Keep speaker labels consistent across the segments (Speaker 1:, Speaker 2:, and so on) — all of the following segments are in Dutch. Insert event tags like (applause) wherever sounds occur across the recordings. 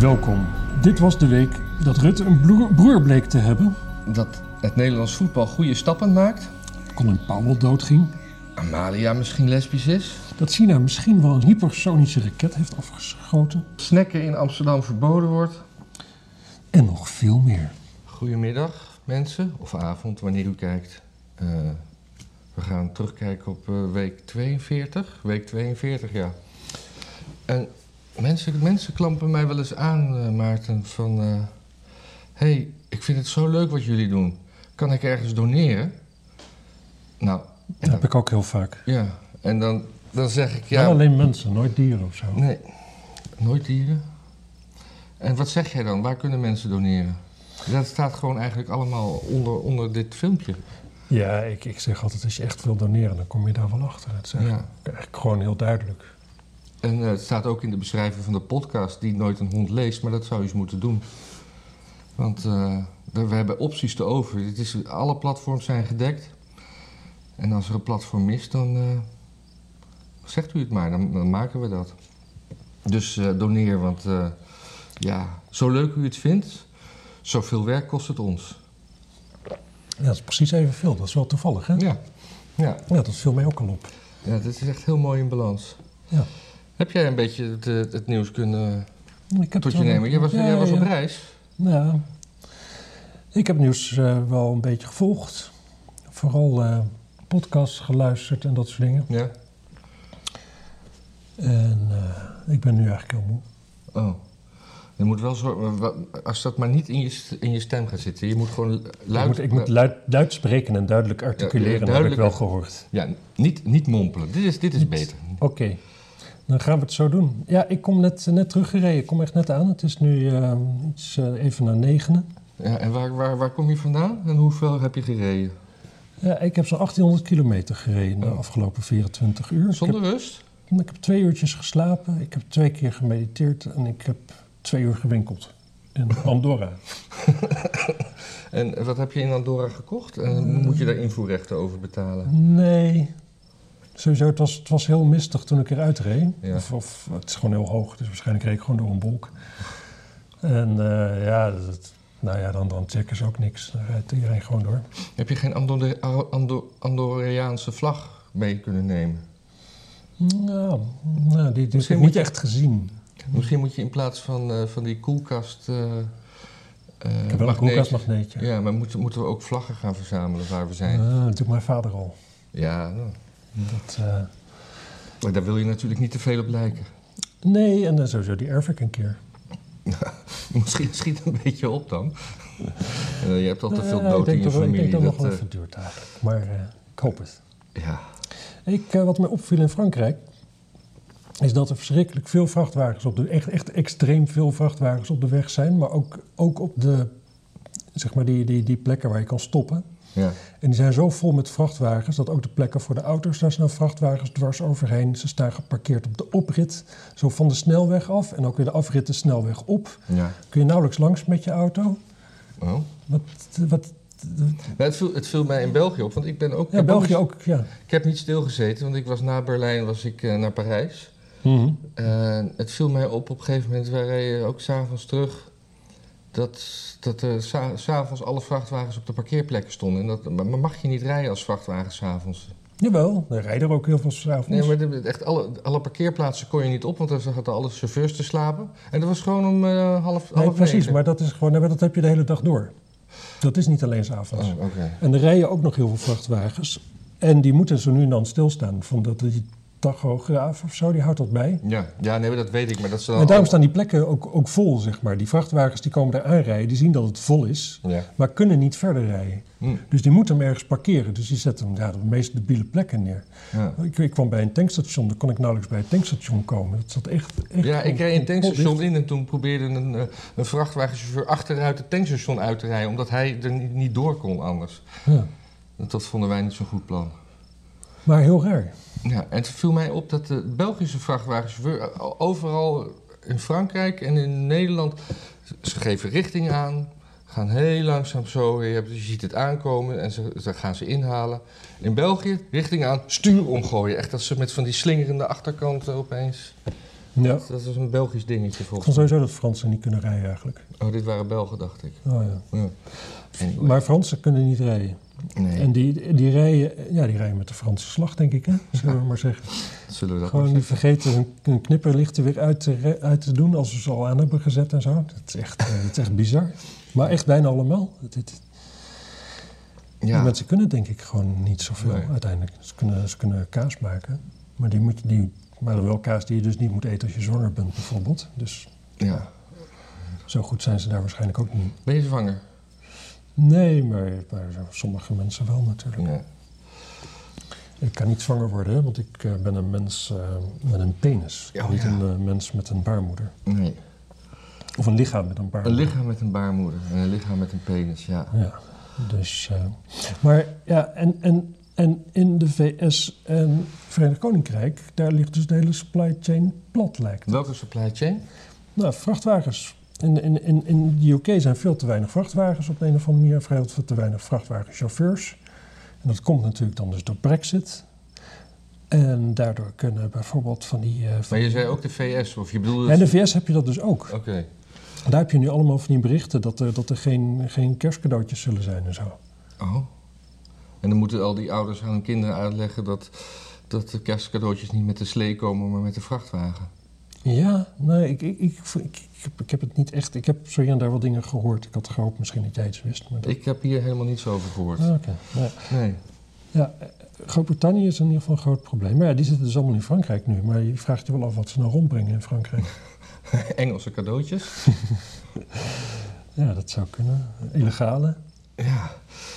Speaker 1: Welkom. Dit was de week dat Rutte een broer, broer bleek te hebben.
Speaker 2: Dat het Nederlands voetbal goede stappen maakt.
Speaker 1: Colin Powell doodging.
Speaker 2: Amalia misschien lesbisch is.
Speaker 1: Dat China misschien wel een hypersonische raket heeft afgeschoten.
Speaker 2: Snacken in Amsterdam verboden wordt.
Speaker 1: En nog veel meer.
Speaker 2: Goedemiddag mensen, of avond wanneer u kijkt. Eh, we gaan terugkijken op eh, week 42. Week 42, ja. En mensen, mensen klampen mij wel eens aan, eh, Maarten, van... eh, hey, ik vind het zo leuk wat jullie doen. Kan ik ergens doneren? Nou,
Speaker 1: Dat heb ik ook heel vaak.
Speaker 2: ja. En dan, dan zeg ik...
Speaker 1: Ja.
Speaker 2: ja.
Speaker 1: alleen mensen, nooit dieren of zo.
Speaker 2: Nee, nooit dieren. En wat zeg jij dan? Waar kunnen mensen doneren? Dat staat gewoon eigenlijk allemaal onder, onder dit filmpje.
Speaker 1: Ja, ik, ik zeg altijd, als je echt wil doneren, dan kom je daar wel achter. Het is eigenlijk, eigenlijk gewoon heel duidelijk.
Speaker 2: En eh, het staat ook in de beschrijving van de podcast die nooit een hond leest, maar dat zou je eens moeten doen. Want eh, er- we hebben opties te over. Het is, alle platforms zijn gedekt. En als er een platform mist, dan eh, zegt u het maar, dan, dan maken we dat. Dus eh, doneer, want eh, ja, zo leuk u het vindt, zoveel werk kost het ons.
Speaker 1: Ja, dat is precies evenveel. Dat is wel toevallig, hè? Ja,
Speaker 2: Ja, ja.
Speaker 1: dat viel mij ook al op.
Speaker 2: ja dat is echt heel mooi in balans.
Speaker 1: Ja.
Speaker 2: Heb jij een beetje het, eh, het nieuws kunnen
Speaker 1: Ik heb
Speaker 2: tot je
Speaker 1: wel-
Speaker 2: nemen? Jij was,
Speaker 1: Ja,
Speaker 2: jij was op
Speaker 1: ja.
Speaker 2: reis.
Speaker 1: Ja. Nou, Ik heb nieuws eh, wel een beetje gevolgd. Vooral eh, podcasts geluisterd en dat soort dingen.
Speaker 2: Ja.
Speaker 1: En eh, ik ben nu eigenlijk heel moe.
Speaker 2: Oh. Je moet wel zorgen, wa- wa- als dat maar niet in je, st- in je stem gaat zitten. Je moet gewoon luid... eh,
Speaker 1: ik moet, ik moet luid, luid spreken en duidelijk articuleren, dat heb ik
Speaker 2: duidelijk.
Speaker 1: wel gehoord.
Speaker 2: Ja, niet, niet mompelen. Dit is, dit is
Speaker 1: Niet.
Speaker 2: beter.
Speaker 1: Oké, dan gaan we het zo doen. Ja, ik kom net, net teruggereden. Ik kom echt net aan. Het is nu eh, iets, eh, even na negenen.
Speaker 2: Ja, en waar, waar, waar kom je vandaan en hoeveel heb je gereden?
Speaker 1: Ja, ik heb zo'n 1800 kilometer gereden de
Speaker 2: Oh.
Speaker 1: afgelopen 24 uur. Ik heb
Speaker 2: Zonder rust?
Speaker 1: Ik heb twee uurtjes geslapen, ik heb twee keer gemediteerd en ik heb twee uur gewinkeld.
Speaker 2: (laughs)
Speaker 1: In Andorra.
Speaker 2: En wat heb je in Andorra gekocht? En
Speaker 1: Eh,
Speaker 2: moet je daar invoerrechten over betalen?
Speaker 1: Nee. Sowieso, het was, het was heel mistig toen ik eruit reed.
Speaker 2: Ja.
Speaker 1: Of, of, het is gewoon heel hoog, dus waarschijnlijk reed ik gewoon door een wolk. En eh, ja, dat, nou ja, dan, dan checken ze ook niks. Dan rijdt iedereen gewoon door.
Speaker 2: Heb je geen Andor- Ando- Andorraanse vlag mee kunnen nemen?
Speaker 1: Nou, nou die, die heb
Speaker 2: Misschien
Speaker 1: ik
Speaker 2: moet
Speaker 1: niet
Speaker 2: je-
Speaker 1: echt gezien.
Speaker 2: Misschien moet je in plaats van, eh, van die koelkast... eh, eh,
Speaker 1: Ik heb wel een
Speaker 2: magneet-
Speaker 1: koelkastmagneetje.
Speaker 2: Ja, maar moeten, moeten we ook vlaggen gaan verzamelen waar we zijn?
Speaker 1: Ah, dat doet mijn vader al.
Speaker 2: Ja, nou,
Speaker 1: Dat, eh,
Speaker 2: Maar daar wil je natuurlijk niet te veel op lijken. (laughs)
Speaker 1: nee, en dan sowieso, die erf ik een keer.
Speaker 2: Misschien schiet het een beetje op dan. (laughs) Eh, je hebt al te veel
Speaker 1: Ja, ik
Speaker 2: dood
Speaker 1: denk
Speaker 2: in je
Speaker 1: toch wel-
Speaker 2: familie.
Speaker 1: Ik denk dat het nog wel
Speaker 2: eh,
Speaker 1: even duurt eigenlijk. Maar eh, ik hoop het.
Speaker 2: ja.
Speaker 1: Ik, eh, wat mij opviel in Frankrijk... is dat er verschrikkelijk veel vrachtwagens op de... echt, echt extreem veel vrachtwagens op de weg zijn. Maar ook, ook op de... zeg maar die, die, die plekken waar je kan stoppen.
Speaker 2: ja.
Speaker 1: En die zijn zo vol met vrachtwagens... dat ook de plekken voor de auto's... daar staan vrachtwagens dwars overheen. Ze staan geparkeerd op de oprit. Zo van de snelweg af. En ook weer de afrit de snelweg op.
Speaker 2: ja.
Speaker 1: Kun je nauwelijks langs met je auto.
Speaker 2: Oh. Nou,
Speaker 1: Wat... wat
Speaker 2: het, viel, het viel mij in België op, want ik ben ook... ik
Speaker 1: ja,
Speaker 2: heb
Speaker 1: België
Speaker 2: niet-
Speaker 1: ook, ja.
Speaker 2: Ik heb niet stilgezeten, want ik was na Berlijn was ik, eh, naar Parijs.
Speaker 1: Mhm.
Speaker 2: En het viel mij op op een gegeven moment, wij reden ook s'avonds terug... dat, dat er sa- s'avonds alle vrachtwagens op de parkeerplekken stonden. En dat, maar mag je niet rijden als vrachtwagen s'avonds?
Speaker 1: Jawel, er rijden er ook heel veel s'avonds.
Speaker 2: Nee, maar de- echt alle, alle parkeerplaatsen kon je niet op, want daar zaten alle chauffeurs te slapen. En dat was gewoon om eh, half,
Speaker 1: Nee,
Speaker 2: half
Speaker 1: precies,
Speaker 2: negen.
Speaker 1: maar dat, is gewoon, nee, maar dat heb je de hele dag door. Dat is niet alleen s'avonds.
Speaker 2: Oh, oké.
Speaker 1: En er rijden ook nog heel veel vrachtwagens. En die moeten zo nu en dan stilstaan. Van dat, die tachograaf of zo, die houdt dat bij.
Speaker 2: Ja, ja, nee, maar dat weet ik, maar dat ze dan...
Speaker 1: En daarom staan die plekken ook, ook vol, zeg maar. Die vrachtwagens die komen daar aanrijden, die zien dat het vol is.
Speaker 2: Ja.
Speaker 1: Maar kunnen niet verder rijden.
Speaker 2: Hm,
Speaker 1: Dus die moeten hem ergens parkeren. Dus die zetten hem ja, op de meest debiele plekken neer.
Speaker 2: ja.
Speaker 1: Ik, ik kwam bij een tankstation, daar kon ik nauwelijks bij het tankstation komen. Dat zat echt... echt
Speaker 2: Ja,
Speaker 1: gewoon-
Speaker 2: ik reed een tankstation
Speaker 1: potdicht.
Speaker 2: in en toen probeerde een, eh, een vrachtwagenchauffeur achteruit het tankstation uit te rijden, omdat hij er niet, niet door kon anders.
Speaker 1: Ja.
Speaker 2: Dat, dat vonden wij niet zo'n goed plan.
Speaker 1: Maar heel raar.
Speaker 2: Ja, en het viel mij op dat de Belgische vrachtwagenchauffeur eh, overal in Frankrijk en in Nederland. Ze geven richting aan, gaan heel langzaam zo. Je, hebt, je ziet het aankomen en ze, ze gaan ze inhalen. In België, richting aan, stuur omgooien. Echt dat ze met van die slingerende achterkanten opeens.
Speaker 1: Ja.
Speaker 2: Dat is een Belgisch dingetje
Speaker 1: Ik
Speaker 2: volgens
Speaker 1: vond
Speaker 2: mij.
Speaker 1: sowieso dat Fransen niet kunnen rijden eigenlijk.
Speaker 2: Oh, dit waren Belgen, dacht ik.
Speaker 1: Oh, ja.
Speaker 2: Ja. Anyway.
Speaker 1: Maar Fransen kunnen niet rijden.
Speaker 2: nee,
Speaker 1: En die, die, rijden, ja, die rijden met de Franse slag, denk ik, hè? zullen we maar zeggen.
Speaker 2: zullen we dat
Speaker 1: Gewoon
Speaker 2: maar
Speaker 1: niet
Speaker 2: zeggen?
Speaker 1: vergeten hun, hun knipperlichten weer uit te, re- uit te doen als we ze al aan hebben gezet en zo. Dat is echt, eh, dat is echt bizar. Maar echt bijna allemaal. Het- het- Die
Speaker 2: Ja,
Speaker 1: mensen kunnen denk ik gewoon niet zoveel
Speaker 2: Nee.
Speaker 1: uiteindelijk. Ze kunnen, ze kunnen kaas maken. Maar, die moet, je- die, maar wel kaas die je dus niet moet eten als je zwanger bent bijvoorbeeld. Dus
Speaker 2: ja.
Speaker 1: zo goed zijn ze daar waarschijnlijk ook niet.
Speaker 2: Ben je zwanger?
Speaker 1: Nee, maar, maar sommige mensen wel natuurlijk.
Speaker 2: Ja.
Speaker 1: Ik kan niet zwanger worden, hè, want ik eh, ben een mens eh, met een penis.
Speaker 2: Oh,
Speaker 1: niet
Speaker 2: ja.
Speaker 1: een eh, mens met een baarmoeder.
Speaker 2: Nee.
Speaker 1: Of een lichaam met een
Speaker 2: Een
Speaker 1: baarmoeder.
Speaker 2: lichaam met een baarmoeder en een lichaam met een penis, ja.
Speaker 1: Ja, dus. eh, maar ja, en, en, en in de VS en Verenigd Koninkrijk, daar ligt dus de hele supply chain plat, lijkt. het.
Speaker 2: Welke supply chain?
Speaker 1: Nou, vrachtwagens. In, in, in, in de UK zijn veel te weinig vrachtwagens op de een of andere manier, veel te weinig vrachtwagenchauffeurs. En dat komt natuurlijk dan dus door Brexit. En daardoor kunnen bijvoorbeeld van die. eh, van-
Speaker 2: Maar je zei ook de VS, of je bedoelde...
Speaker 1: Ja, in de VS heb je dat dus ook.
Speaker 2: Oké.
Speaker 1: Daar heb je nu allemaal van die berichten dat er, dat er geen, geen kerstcadeautjes zullen zijn en zo.
Speaker 2: Oh. En dan moeten al die ouders aan hun kinderen uitleggen dat, dat de kerstcadeautjes niet met de slee komen, maar met de vrachtwagen.
Speaker 1: Ja, nee, ik, ik, ik, ik, ik heb, ik heb het niet echt. Ik heb zo hier en daar wel dingen gehoord. Ik had gehoopt misschien dat jij iets wist. Maar dat,
Speaker 2: Ik heb hier helemaal niets over gehoord.
Speaker 1: Ah, oké. Ja.
Speaker 2: Nee.
Speaker 1: Ja, eh, Groot-Brittannië is in ieder geval een groot probleem. Maar ja, die zitten dus allemaal in Frankrijk nu. Maar je vraagt je wel af wat ze nou rondbrengen in
Speaker 2: (laughs)
Speaker 1: Frankrijk.
Speaker 2: Engelse cadeautjes.
Speaker 1: Ja, dat zou kunnen. Illegale.
Speaker 2: Ja.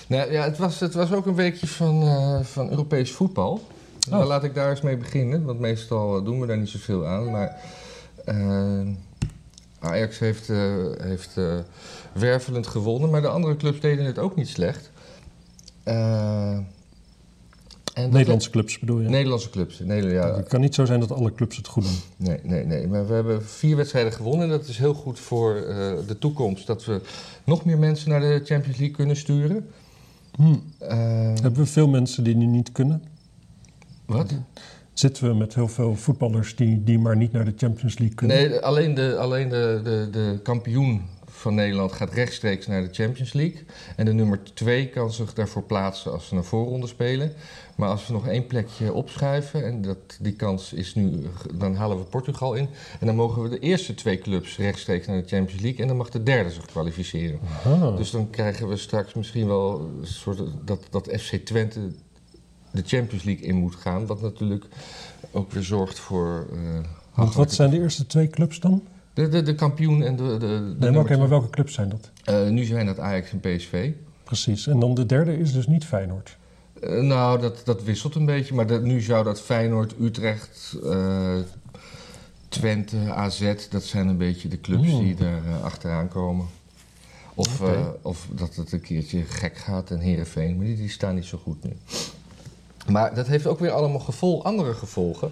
Speaker 2: Nou ja, het was, het was ook een weekje van, eh, van Europees voetbal. Nou, laat ik daar eens mee beginnen, want meestal eh, doen we daar niet zoveel aan. Maar eh, Ajax heeft, eh, heeft eh, wervelend gewonnen, maar de andere clubs deden het ook niet slecht. Eh, en dat-
Speaker 1: Nederlandse clubs bedoel je? Nou,
Speaker 2: Nederlandse clubs. Nederland, ja,
Speaker 1: Het kan niet zo zijn dat alle clubs het goed doen.
Speaker 2: Nee, nee, nee. Maar we hebben vier wedstrijden gewonnen. En dat is heel goed voor eh, de toekomst. Dat we nog meer mensen naar de Champions League kunnen sturen. Eh,
Speaker 1: Hebben we veel mensen die nu niet kunnen?
Speaker 2: wat?
Speaker 1: Zitten we met heel veel voetballers die, die maar niet naar de Champions League kunnen?
Speaker 2: Nee, alleen, de, alleen de, de, de kampioen van Nederland gaat rechtstreeks naar de Champions League. En de nummer twee kan zich daarvoor plaatsen als ze een voorronde spelen. Maar als we nog één plekje opschuiven, en dat, die kans is nu, dan halen we Portugal in. En dan mogen we de eerste twee clubs rechtstreeks naar de Champions League. En dan mag de derde zich kwalificeren.
Speaker 1: Aha.
Speaker 2: Dus dan krijgen we straks misschien wel een soort dat, dat FC Twente de Champions League in moet gaan. Wat natuurlijk ook weer zorgt voor. eh,
Speaker 1: Want wat
Speaker 2: hachelijke-
Speaker 1: zijn de eerste twee clubs dan?
Speaker 2: de, de, de kampioen en de. de, de
Speaker 1: Nee, maar
Speaker 2: nummer
Speaker 1: oké, maar
Speaker 2: twee.
Speaker 1: welke clubs zijn dat?
Speaker 2: Eh, nu zijn dat Ajax en PSV.
Speaker 1: Precies. En dan de derde is dus niet Feyenoord.
Speaker 2: Eh, nou, dat, dat wisselt een beetje. Maar dat, nu zou dat Feyenoord, Utrecht, eh, Twente, AZ... dat zijn een beetje de clubs
Speaker 1: Mm.
Speaker 2: die er eh, achteraan komen. Of,
Speaker 1: Oké.
Speaker 2: eh, of dat het een keertje gek gaat en Heerenveen. Maar die, die staan niet zo goed nu. Maar dat heeft ook weer allemaal gevol, andere gevolgen.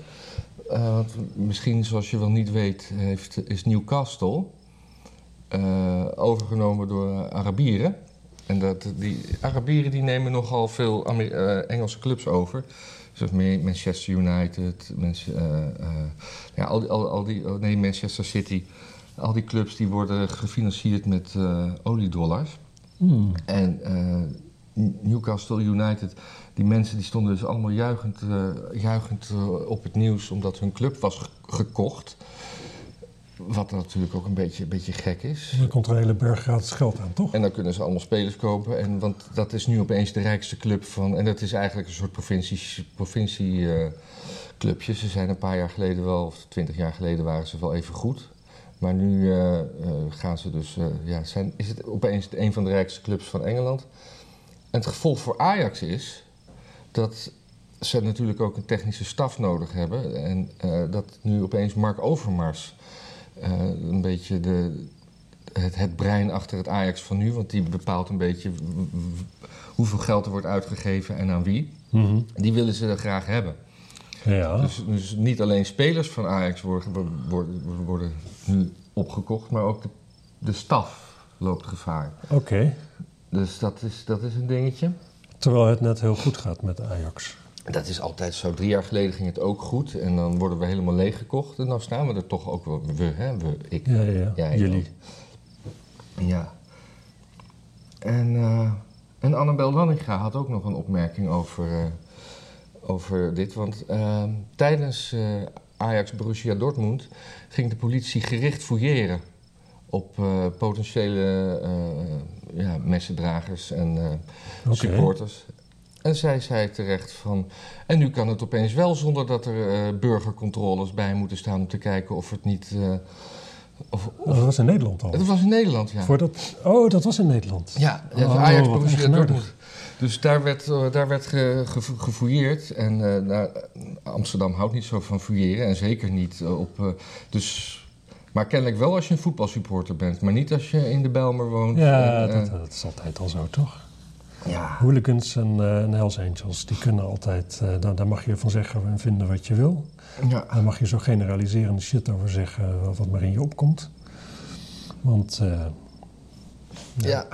Speaker 2: Eh, want misschien, zoals je wel niet weet, heeft, is Newcastle eh, overgenomen door eh, Arabieren. En dat, die Arabieren die nemen nogal veel Amer- eh, Engelse clubs over. Zoals meer Manchester United, Mans- eh, eh, ja, al die, al, al die, oh, nee, Manchester City. Al die clubs die worden gefinancierd met eh, oliedollars. Hm.
Speaker 1: Hmm.
Speaker 2: En eh, Newcastle United, die mensen die stonden dus allemaal juichend, eh, juichend eh, op het nieuws omdat hun club was ge- gekocht. Wat natuurlijk ook een beetje, een beetje gek is.
Speaker 1: Dan komt er een hele berg gratis geld aan, toch?
Speaker 2: En dan kunnen ze allemaal spelers kopen. En, want dat is nu opeens de rijkste club van. En dat is eigenlijk een soort provincie, provincie eh, clubje. Ze zijn een paar jaar geleden wel, of twintig jaar geleden waren ze wel even goed. Maar nu eh, eh, gaan ze dus. eh, ja, zijn, is het opeens een van de rijkste clubs van Engeland. En het gevolg voor Ajax is dat ze natuurlijk ook een technische staf nodig hebben. En eh, dat nu opeens Mark Overmars eh, een beetje de, het, het brein achter het Ajax van nu. Want die bepaalt een beetje w- w- hoeveel geld er wordt uitgegeven en aan wie.
Speaker 1: Mhm.
Speaker 2: Die willen ze graag hebben.
Speaker 1: Ja.
Speaker 2: Dus, dus niet alleen spelers van Ajax worden, worden, worden nu opgekocht, maar ook de, de staf loopt gevaar.
Speaker 1: Oké.
Speaker 2: Dus dat is, dat is een dingetje.
Speaker 1: Terwijl het net heel goed gaat met Ajax.
Speaker 2: Dat is altijd zo. Drie jaar geleden ging het ook goed en dan worden we helemaal leeggekocht. En dan staan we er toch ook wel. We, hè? We, ik.
Speaker 1: Ja, ja, ja.
Speaker 2: Jij
Speaker 1: Jullie.
Speaker 2: Ja. En, eh, en Annabel Lanninga had ook nog een opmerking over, eh, over dit. Want eh, tijdens eh, Ajax Borussia Dortmund ging de politie gericht fouilleren op eh, potentiële eh, ja, messendragers en eh,
Speaker 1: Oké.
Speaker 2: supporters. En zij zei terecht van. En nu kan het opeens wel zonder dat er eh, burgercontroles bij moeten staan om te kijken of het niet. eh, of,
Speaker 1: Oh, dat was in Nederland al.
Speaker 2: het was in Nederland, ja.
Speaker 1: Voordat, oh, dat was in Nederland.
Speaker 2: Ja,
Speaker 1: Oh,
Speaker 2: even Ajax
Speaker 1: wat
Speaker 2: Borussia
Speaker 1: eigenaardig.
Speaker 2: Dortmund. Dus daar werd, eh, daar werd ge, ge- gefouilleerd. En eh, nou, Amsterdam houdt niet zo van fouilleren. En zeker niet eh, op... eh, dus, maar kennelijk wel als je een voetbalsupporter bent. Maar niet als je in de Bijlmer woont.
Speaker 1: Ja,
Speaker 2: En, eh,
Speaker 1: dat, dat is altijd al zo, toch?
Speaker 2: ja.
Speaker 1: Hooligans en, eh, en Hells Angels, die kunnen altijd, eh, daar, daar mag je van zeggen en vinden wat je wil.
Speaker 2: ja.
Speaker 1: Daar mag je zo generaliserende shit over zeggen, wat maar in je opkomt. Want, eh,
Speaker 2: Ja.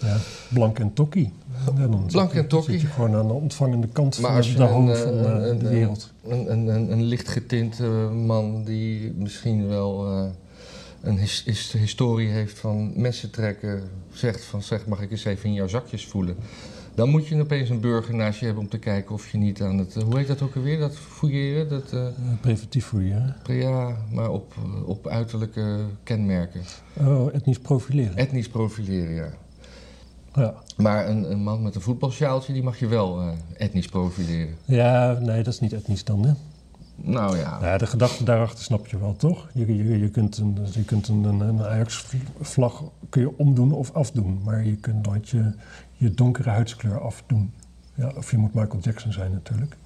Speaker 1: ja, blank en tokkie. Ja, dan zit
Speaker 2: Blank
Speaker 1: je-
Speaker 2: en tokkie.
Speaker 1: zit je gewoon aan de ontvangende kant
Speaker 2: Maar
Speaker 1: van
Speaker 2: als
Speaker 1: de,
Speaker 2: je
Speaker 1: de
Speaker 2: een,
Speaker 1: hoon
Speaker 2: eh,
Speaker 1: van eh,
Speaker 2: een-
Speaker 1: de
Speaker 2: een-
Speaker 1: wereld.
Speaker 2: Een, een, een, een lichtgetinte man die misschien wel eh, een his- his- historie heeft van messen trekken. Zegt van zeg mag ik eens even in jouw zakjes voelen. Dan moet je opeens een burger naast je hebben om te kijken of je niet aan het... eh, Hoe heet dat ook alweer? Dat fouilleren? Dat, eh,
Speaker 1: Eh, preventief voor je, hè?
Speaker 2: ja, maar op, eh, op uiterlijke kenmerken.
Speaker 1: Oh, etnisch profileren.
Speaker 2: Etnisch profileren, ja.
Speaker 1: ja.
Speaker 2: Maar een, een man met een voetbalsjaaltje, die mag je wel eh, etnisch profileren.
Speaker 1: ja, nee, dat is niet etnisch dan, hè?
Speaker 2: Nou ja.
Speaker 1: Ja, de gedachte daarachter snap je wel, toch? Je, je, je kunt een, dus je kunt een, een- een Ajax-vlag kun je omdoen of afdoen. Maar je kunt nooit je, je donkere huidskleur afdoen. Ja, of je moet Michael Jackson zijn natuurlijk.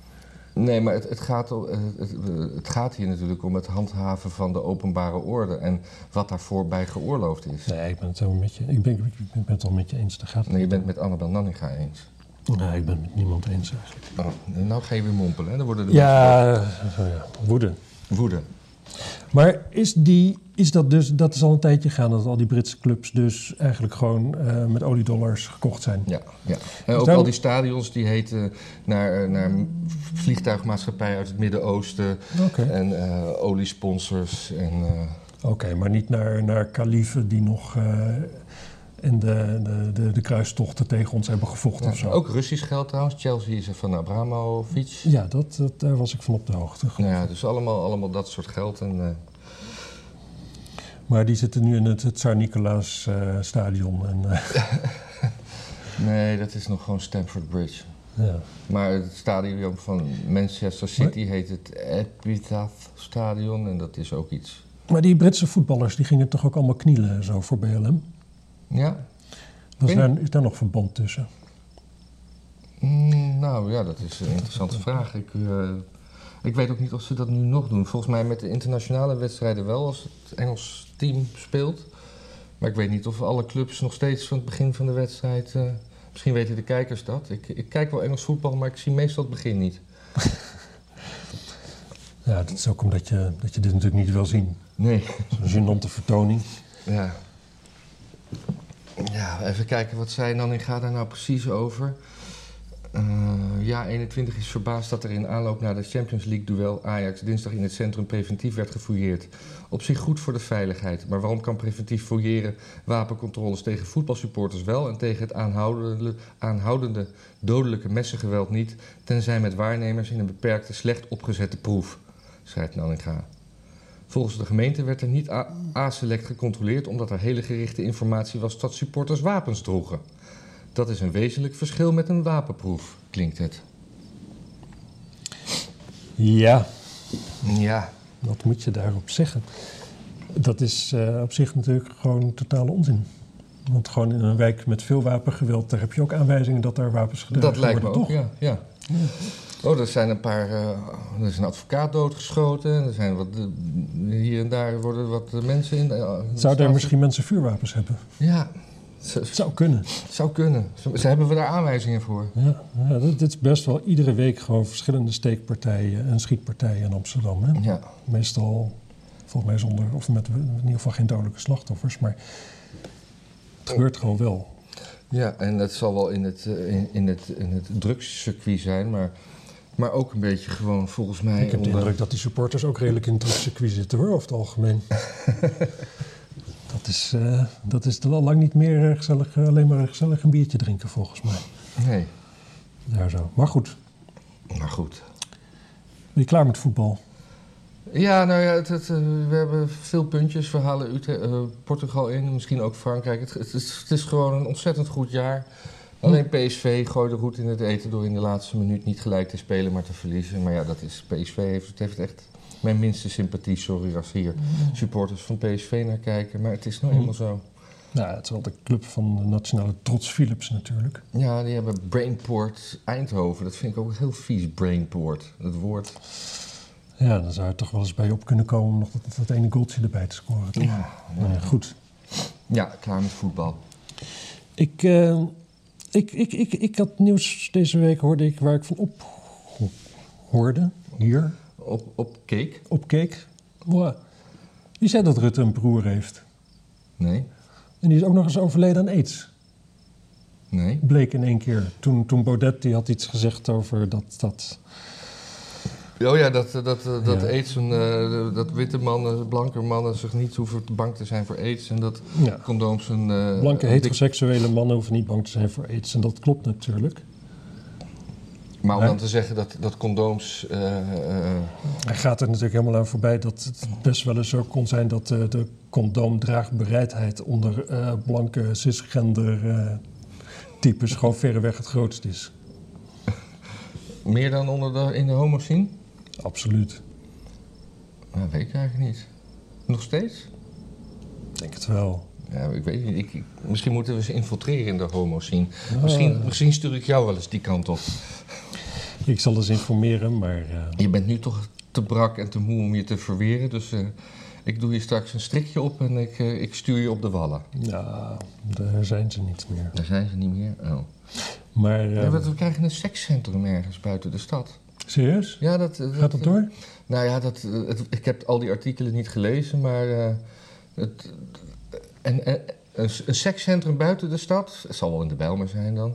Speaker 2: Nee, maar het, het, gaat, o- het, het- het gaat hier natuurlijk om het handhaven van de openbare orde en wat daarvoor bij geoorloofd is.
Speaker 1: Nee, ik ben het helemaal met je, ik ben, ik ben het al met je eens. Daar gaat het
Speaker 2: Nee, je
Speaker 1: niet
Speaker 2: bent met Annabel Nanninga eens.
Speaker 1: om. Nee, ik ben het met niemand eens eigenlijk.
Speaker 2: Oh, nou ga je weer mompelen, hè? dan worden de
Speaker 1: Ja, zo ja, woede.
Speaker 2: mensen woede.
Speaker 1: Maar is, die, is dat dus, dat is al een tijdje gaan dat al die Britse clubs dus eigenlijk gewoon eh, met oliedollars gekocht zijn?
Speaker 2: Ja, ja. En ook
Speaker 1: daarom-
Speaker 2: al die stadions die heten naar, eh, naar vliegtuigmaatschappijen uit het Midden-Oosten
Speaker 1: Oké.
Speaker 2: en eh, oliesponsors. En, eh,
Speaker 1: Oké, maar niet naar, naar kalieven die nog eh, in de, de, de, de kruistochten tegen ons hebben gevochten of zo.
Speaker 2: ook Russisch geld trouwens. Chelsea is er van Abramovic.
Speaker 1: Ja, dat, dat, daar was ik van op de hoogte.
Speaker 2: Nou ja, dus allemaal, allemaal dat soort geld. En, eh,
Speaker 1: Maar die zitten nu in het, het Tsar-Nicolaas eh, stadion. En, eh,
Speaker 2: nee, dat is nog gewoon Stamford Bridge.
Speaker 1: ja.
Speaker 2: Maar het stadion van Manchester City heet het Epitaph Stadion en dat is ook iets.
Speaker 1: Maar die Britse voetballers die gingen toch ook allemaal knielen en zo voor BLM?
Speaker 2: Ja?
Speaker 1: Was
Speaker 2: Ik-
Speaker 1: daar, is daar nog verband tussen?
Speaker 2: Mm, nou ja, dat is een interessante vraag. Ik, eh, ik weet ook niet of ze dat nu nog doen. Volgens mij met de internationale wedstrijden wel, als het Engels team speelt. Maar ik weet niet of alle clubs nog steeds van het begin van de wedstrijd. eh, misschien weten de kijkers dat. Ik, ik kijk wel Engels voetbal, maar ik zie meestal het begin niet.
Speaker 1: Ja, dat is ook omdat je, dat je dit natuurlijk niet wil zien.
Speaker 2: Nee.
Speaker 1: Zo'n gênante vertoning.
Speaker 2: Ja. Ja, even kijken wat zij dan in gaat daar nou precies over. Eh, ja, 21 is verbaasd dat er in aanloop naar de Champions League duel Ajax dinsdag in het centrum preventief werd gefouilleerd. Op zich goed voor de veiligheid, maar waarom kan preventief fouilleren wapencontroles tegen voetbalsupporters wel en tegen het aanhoudende, aanhoudende dodelijke messengeweld niet, tenzij met waarnemers in een beperkte, slecht opgezette proef, schrijft Nanninga. Volgens de gemeente werd er niet a- A-select gecontroleerd omdat er hele gerichte informatie was dat supporters wapens droegen. Dat is een wezenlijk verschil met een wapenproef, klinkt het.
Speaker 1: Ja,
Speaker 2: Ja.
Speaker 1: wat moet je daarop zeggen? Dat is eh, op zich natuurlijk gewoon totale onzin. Want gewoon in een wijk met veel wapengeweld, daar heb je ook aanwijzingen dat daar wapens gedragen
Speaker 2: dat lijkt me
Speaker 1: worden,
Speaker 2: ook, ja, ja. Oh, er zijn een paar. eh, er is een advocaat doodgeschoten. Er zijn wat. eh, hier en daar worden wat eh, mensen in. eh,
Speaker 1: Zouden er
Speaker 2: slaaf-
Speaker 1: misschien mensen vuurwapens hebben?
Speaker 2: Ja, z-
Speaker 1: Het zou kunnen.
Speaker 2: zou kunnen. Ze, ze hebben we daar aanwijzingen voor.
Speaker 1: Ja, ja dit, dit is best wel iedere week gewoon verschillende steekpartijen en schietpartijen in Amsterdam. Hè?
Speaker 2: Ja.
Speaker 1: Meestal, volgens mij zonder, of met in ieder geval geen dodelijke slachtoffers, maar het gebeurt gewoon wel.
Speaker 2: Ja, en dat zal wel in het, eh, in, in het, in het drugscircuit zijn, maar Maar ook een beetje gewoon volgens mij.
Speaker 1: Ik heb de
Speaker 2: onder-
Speaker 1: indruk dat die supporters ook redelijk in het circuit zitten hoor, over het algemeen. (laughs) dat, is, eh, dat is al lang niet meer eh, gezellig, eh, alleen maar een gezellig een biertje drinken volgens mij.
Speaker 2: Nee,
Speaker 1: Daar zo. Maar goed,
Speaker 2: maar goed.
Speaker 1: ben je klaar met voetbal?
Speaker 2: Ja, nou ja, het, het, eh, we hebben veel puntjes. We halen Utrecht, eh, Portugal in, misschien ook Frankrijk. Het, het, is, het is gewoon een ontzettend goed jaar. Alleen
Speaker 1: Hm.
Speaker 2: PSV gooide goed in het eten door in de laatste minuut niet gelijk te spelen, maar te verliezen. Maar ja, dat is PSV heeft, het heeft echt mijn minste sympathie. Sorry als hier supporters van PSV naar kijken, maar het is nou
Speaker 1: Hm.
Speaker 2: helemaal zo.
Speaker 1: Nou, het is wel de club van de nationale trots Philips natuurlijk.
Speaker 2: Ja, die hebben Brainport Eindhoven. Dat vind ik ook heel vies, Brainport. Het woord.
Speaker 1: Ja, dan zou je toch wel eens bij je op kunnen komen om nog dat, dat ene goaltje erbij te scoren. toch? Nou ja, goed.
Speaker 2: Ja, klaar met voetbal.
Speaker 1: Ik, eh, ik, ik, ik, ik had nieuws deze week, hoorde ik, waar ik van op hoorde, hier,
Speaker 2: Op, op cake?
Speaker 1: opkeek. Wow. Die zei dat Rutte een broer heeft.
Speaker 2: Nee.
Speaker 1: En die is ook nog eens overleden aan aids.
Speaker 2: Nee.
Speaker 1: Bleek in één keer. Toen, toen Baudet die had iets gezegd over dat... dat
Speaker 2: Oh ja, dat, eh, dat, eh, dat
Speaker 1: Ja.
Speaker 2: aids, een, eh, dat witte mannen, blanke mannen zich niet hoeven te bang te zijn voor aids. En dat
Speaker 1: ja.
Speaker 2: condooms een... eh,
Speaker 1: Blanke
Speaker 2: een dik-
Speaker 1: heteroseksuele mannen hoeven niet bang te zijn voor aids. En dat klopt natuurlijk.
Speaker 2: Maar om
Speaker 1: Hè?
Speaker 2: dan te zeggen dat, dat condooms... eh, eh,
Speaker 1: Hij gaat er natuurlijk helemaal aan voorbij dat het best wel eens zo kon zijn dat eh, de condoomdraagbereidheid onder eh, blanke cisgender eh, types gewoon verreweg het grootst is.
Speaker 2: meer dan onder de, in de homo zien?
Speaker 1: Absoluut.
Speaker 2: Nou, weet ik eigenlijk niet. Nog steeds?
Speaker 1: Ik denk het wel.
Speaker 2: Ja, ik weet niet. Ik, ik- misschien moeten we ze infiltreren in de homo zien. Misschien, misschien stuur ik jou wel eens die kant op.
Speaker 1: Ah, Ik zal eens informeren, maar eh,
Speaker 2: Je bent nu toch te brak en te moe om je te verweren. Dus eh, ik doe je straks een strikje op en ik, eh, ik stuur je op de wallen.
Speaker 1: ja, daar zijn ze niet meer.
Speaker 2: Daar zijn ze niet meer. Oh.
Speaker 1: Maar eh,
Speaker 2: Ja, want we krijgen een sekscentrum ergens buiten de stad.
Speaker 1: serieus?
Speaker 2: Ja, dat,
Speaker 1: Gaat dat door?
Speaker 2: Nou ja, dat, eh, het- ik heb al die artikelen niet gelezen, maar eh, het, en, en- een, s- een sekscentrum buiten de stad, het zal wel in de Bijlmer zijn dan,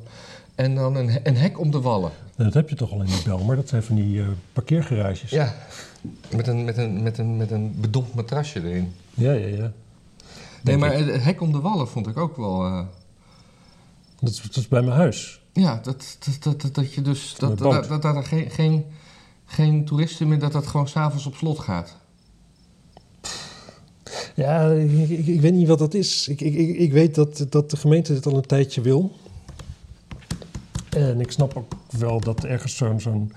Speaker 2: en dan een, he- een hek om de wallen.
Speaker 1: Nou, dat heb je toch al in die bel, maar dat zijn van die eh, parkeergarages.
Speaker 2: Ja, met een, met een, met een, met een bedompt matrasje erin.
Speaker 1: ja, ja. ja.
Speaker 2: Nee,
Speaker 1: Denk
Speaker 2: maar het hek om de wallen vond ik ook wel... eh,
Speaker 1: Dat, is, dat is bij mijn huis.
Speaker 2: ja, dat, dat, dat, dat, dat je dus...
Speaker 1: Met
Speaker 2: Dat,
Speaker 1: boot.
Speaker 2: dat, dat, dat er geen, geen, geen toeristen meer, dat dat gewoon s'avonds op slot gaat.
Speaker 1: Ja, ik, ik, ik weet niet wat dat is. Ik, ik, ik, ik weet dat, dat de gemeente dit al een tijdje wil. En ik snap ook wel dat ergens zo'n zo'n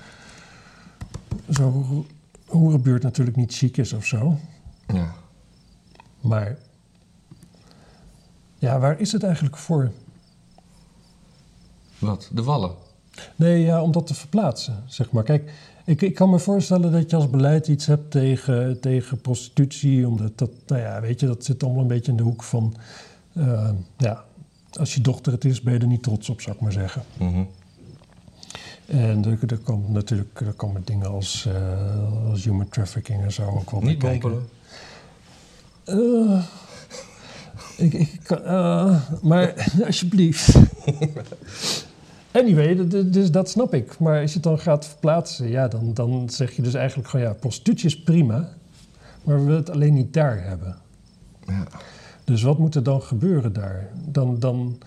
Speaker 1: zo'n hoerenbuurt natuurlijk niet chic is of zo.
Speaker 2: Ja.
Speaker 1: Maar ja, waar is het eigenlijk voor?
Speaker 2: Wat? De wallen?
Speaker 1: Nee, ja, om dat te verplaatsen, zeg maar. Kijk, ik, ik kan me voorstellen dat je als beleid iets hebt tegen, tegen prostitutie. Omdat dat, nou ja, weet je, dat zit allemaal een beetje in de hoek van... eh, ja, als je dochter het is, ben je er niet trots op, zou ik maar zeggen.
Speaker 2: Mhm.
Speaker 1: En er, er komen natuurlijk er komen dingen als, eh, als human trafficking en zo ook wel bij
Speaker 2: Niet
Speaker 1: kijken.
Speaker 2: mompelen.
Speaker 1: Eh, ik, ik kan, eh, maar (laughs) alsjeblieft. Anyway, d- d- dus dat snap ik. Maar als je het dan gaat verplaatsen, ja, dan, dan zeg je dus eigenlijk gewoon ja, prostitutie is prima, maar we willen het alleen niet daar hebben.
Speaker 2: Ja.
Speaker 1: Dus wat moet er dan gebeuren daar? Dan, dan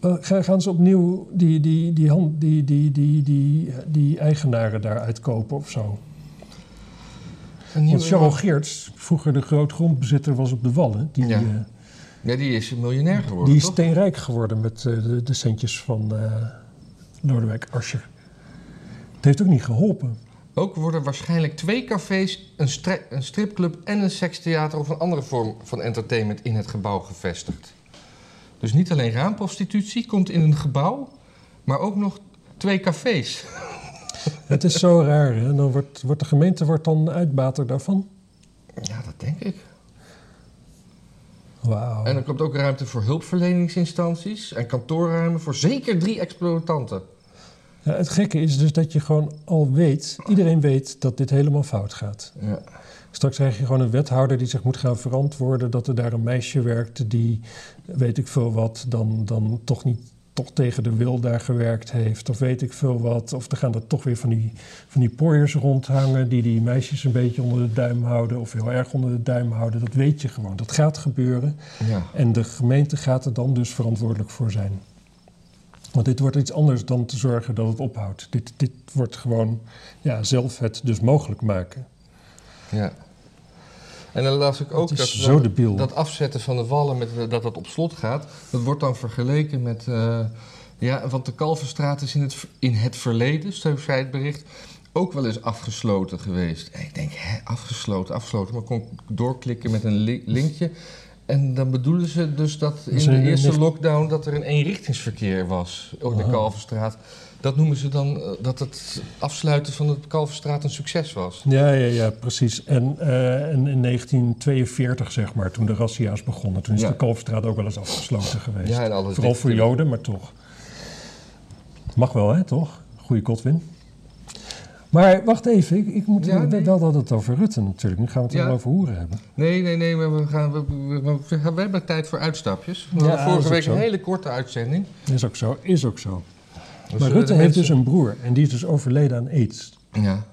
Speaker 1: eh, ga- gaan ze opnieuw die, die, die, hand, die, die, die, die, die eigenaren daar uitkopen of zo?
Speaker 2: Een nieuwe-
Speaker 1: Want Charles Geerts, vroeger de grootgrondbezitter was op de Wallen, die,
Speaker 2: Ja.
Speaker 1: eh,
Speaker 2: Ja, die is een miljonair geworden,
Speaker 1: die is
Speaker 2: toch?
Speaker 1: steenrijk geworden met eh, de, de centjes van eh, Lodewijk Asscher. Het heeft ook niet geholpen.
Speaker 2: Ook worden waarschijnlijk twee cafés, een, stre- een stripclub en een sekstheater of een andere vorm van entertainment in het gebouw gevestigd. Dus niet alleen raamprostitutie komt in een gebouw, maar ook nog twee cafés.
Speaker 1: Het is zo raar. Hè? Dan wordt, wordt de gemeente wordt dan uitbater daarvan.
Speaker 2: Ja, dat denk ik.
Speaker 1: Wauw.
Speaker 2: En er komt ook ruimte voor hulpverleningsinstanties en kantoorruimen voor zeker drie exploitanten.
Speaker 1: Ja, het gekke is dus dat je gewoon al weet, iedereen weet dat dit helemaal fout gaat.
Speaker 2: Ja.
Speaker 1: Straks krijg je gewoon een wethouder die zich moet gaan verantwoorden dat er daar een meisje werkt die, weet ik veel wat, dan, dan toch niet toch tegen de wil daar gewerkt heeft, of weet ik veel wat. Of er gaan er toch weer van die, van die pooiers rondhangen die die meisjes een beetje onder de duim houden of heel erg onder de duim houden. Dat weet je gewoon, dat gaat gebeuren.
Speaker 2: Ja.
Speaker 1: En de gemeente gaat er dan dus verantwoordelijk voor zijn. Want dit wordt iets anders dan te zorgen dat het ophoudt. Dit, dit wordt gewoon ja, zelf het dus mogelijk maken.
Speaker 2: Ja. En dan las ik ook
Speaker 1: Het
Speaker 2: dat,
Speaker 1: is zo
Speaker 2: dat,
Speaker 1: debiel.
Speaker 2: dat afzetten van de wallen, met, eh, dat dat op slot gaat, dat wordt dan vergeleken met. eh, ja, want de Kalverstraat is in het, ver- in het verleden, zo zei het bericht, ook wel eens afgesloten geweest. En ik denk, hè, afgesloten, afgesloten. Maar kon ik doorklikken met een li- linkje. En dan bedoelen ze dus dat in
Speaker 1: Dus een-
Speaker 2: de
Speaker 1: een
Speaker 2: eerste
Speaker 1: lift-
Speaker 2: lockdown dat er een eenrichtingsverkeer was op de
Speaker 1: Aha.
Speaker 2: Kalverstraat. Dat noemen ze dan eh, dat het afsluiten van de Kalverstraat een succes was.
Speaker 1: Ja, ja, ja, precies. En, eh, en in 1942, zeg maar, toen de razzia's begonnen, toen is
Speaker 2: Ja.
Speaker 1: de Kalfstraat ook wel eens afgesloten geweest.
Speaker 2: Ja, en alles
Speaker 1: Vooral
Speaker 2: dicht-
Speaker 1: voor Joden, maar toch. Mag wel, hè, toch? Goeie Godwin. Maar wacht even, ik, ik moet
Speaker 2: Ja, nee.
Speaker 1: wel dat het over Rutte natuurlijk. Nu gaan we het
Speaker 2: Ja.
Speaker 1: wel over hoeren hebben.
Speaker 2: Nee, nee, nee, maar we, gaan, we, we- we- we- we hebben tijd voor uitstapjes. We
Speaker 1: Ja,
Speaker 2: hadden
Speaker 1: dat is
Speaker 2: vorige
Speaker 1: ook
Speaker 2: week
Speaker 1: zo.
Speaker 2: een hele korte uitzending.
Speaker 1: Is ook zo, is ook zo.
Speaker 2: Dus
Speaker 1: maar
Speaker 2: zullen
Speaker 1: Rutte
Speaker 2: de
Speaker 1: heeft dus
Speaker 2: mensen-
Speaker 1: een broer en die is dus overleden aan aids.
Speaker 2: Ja.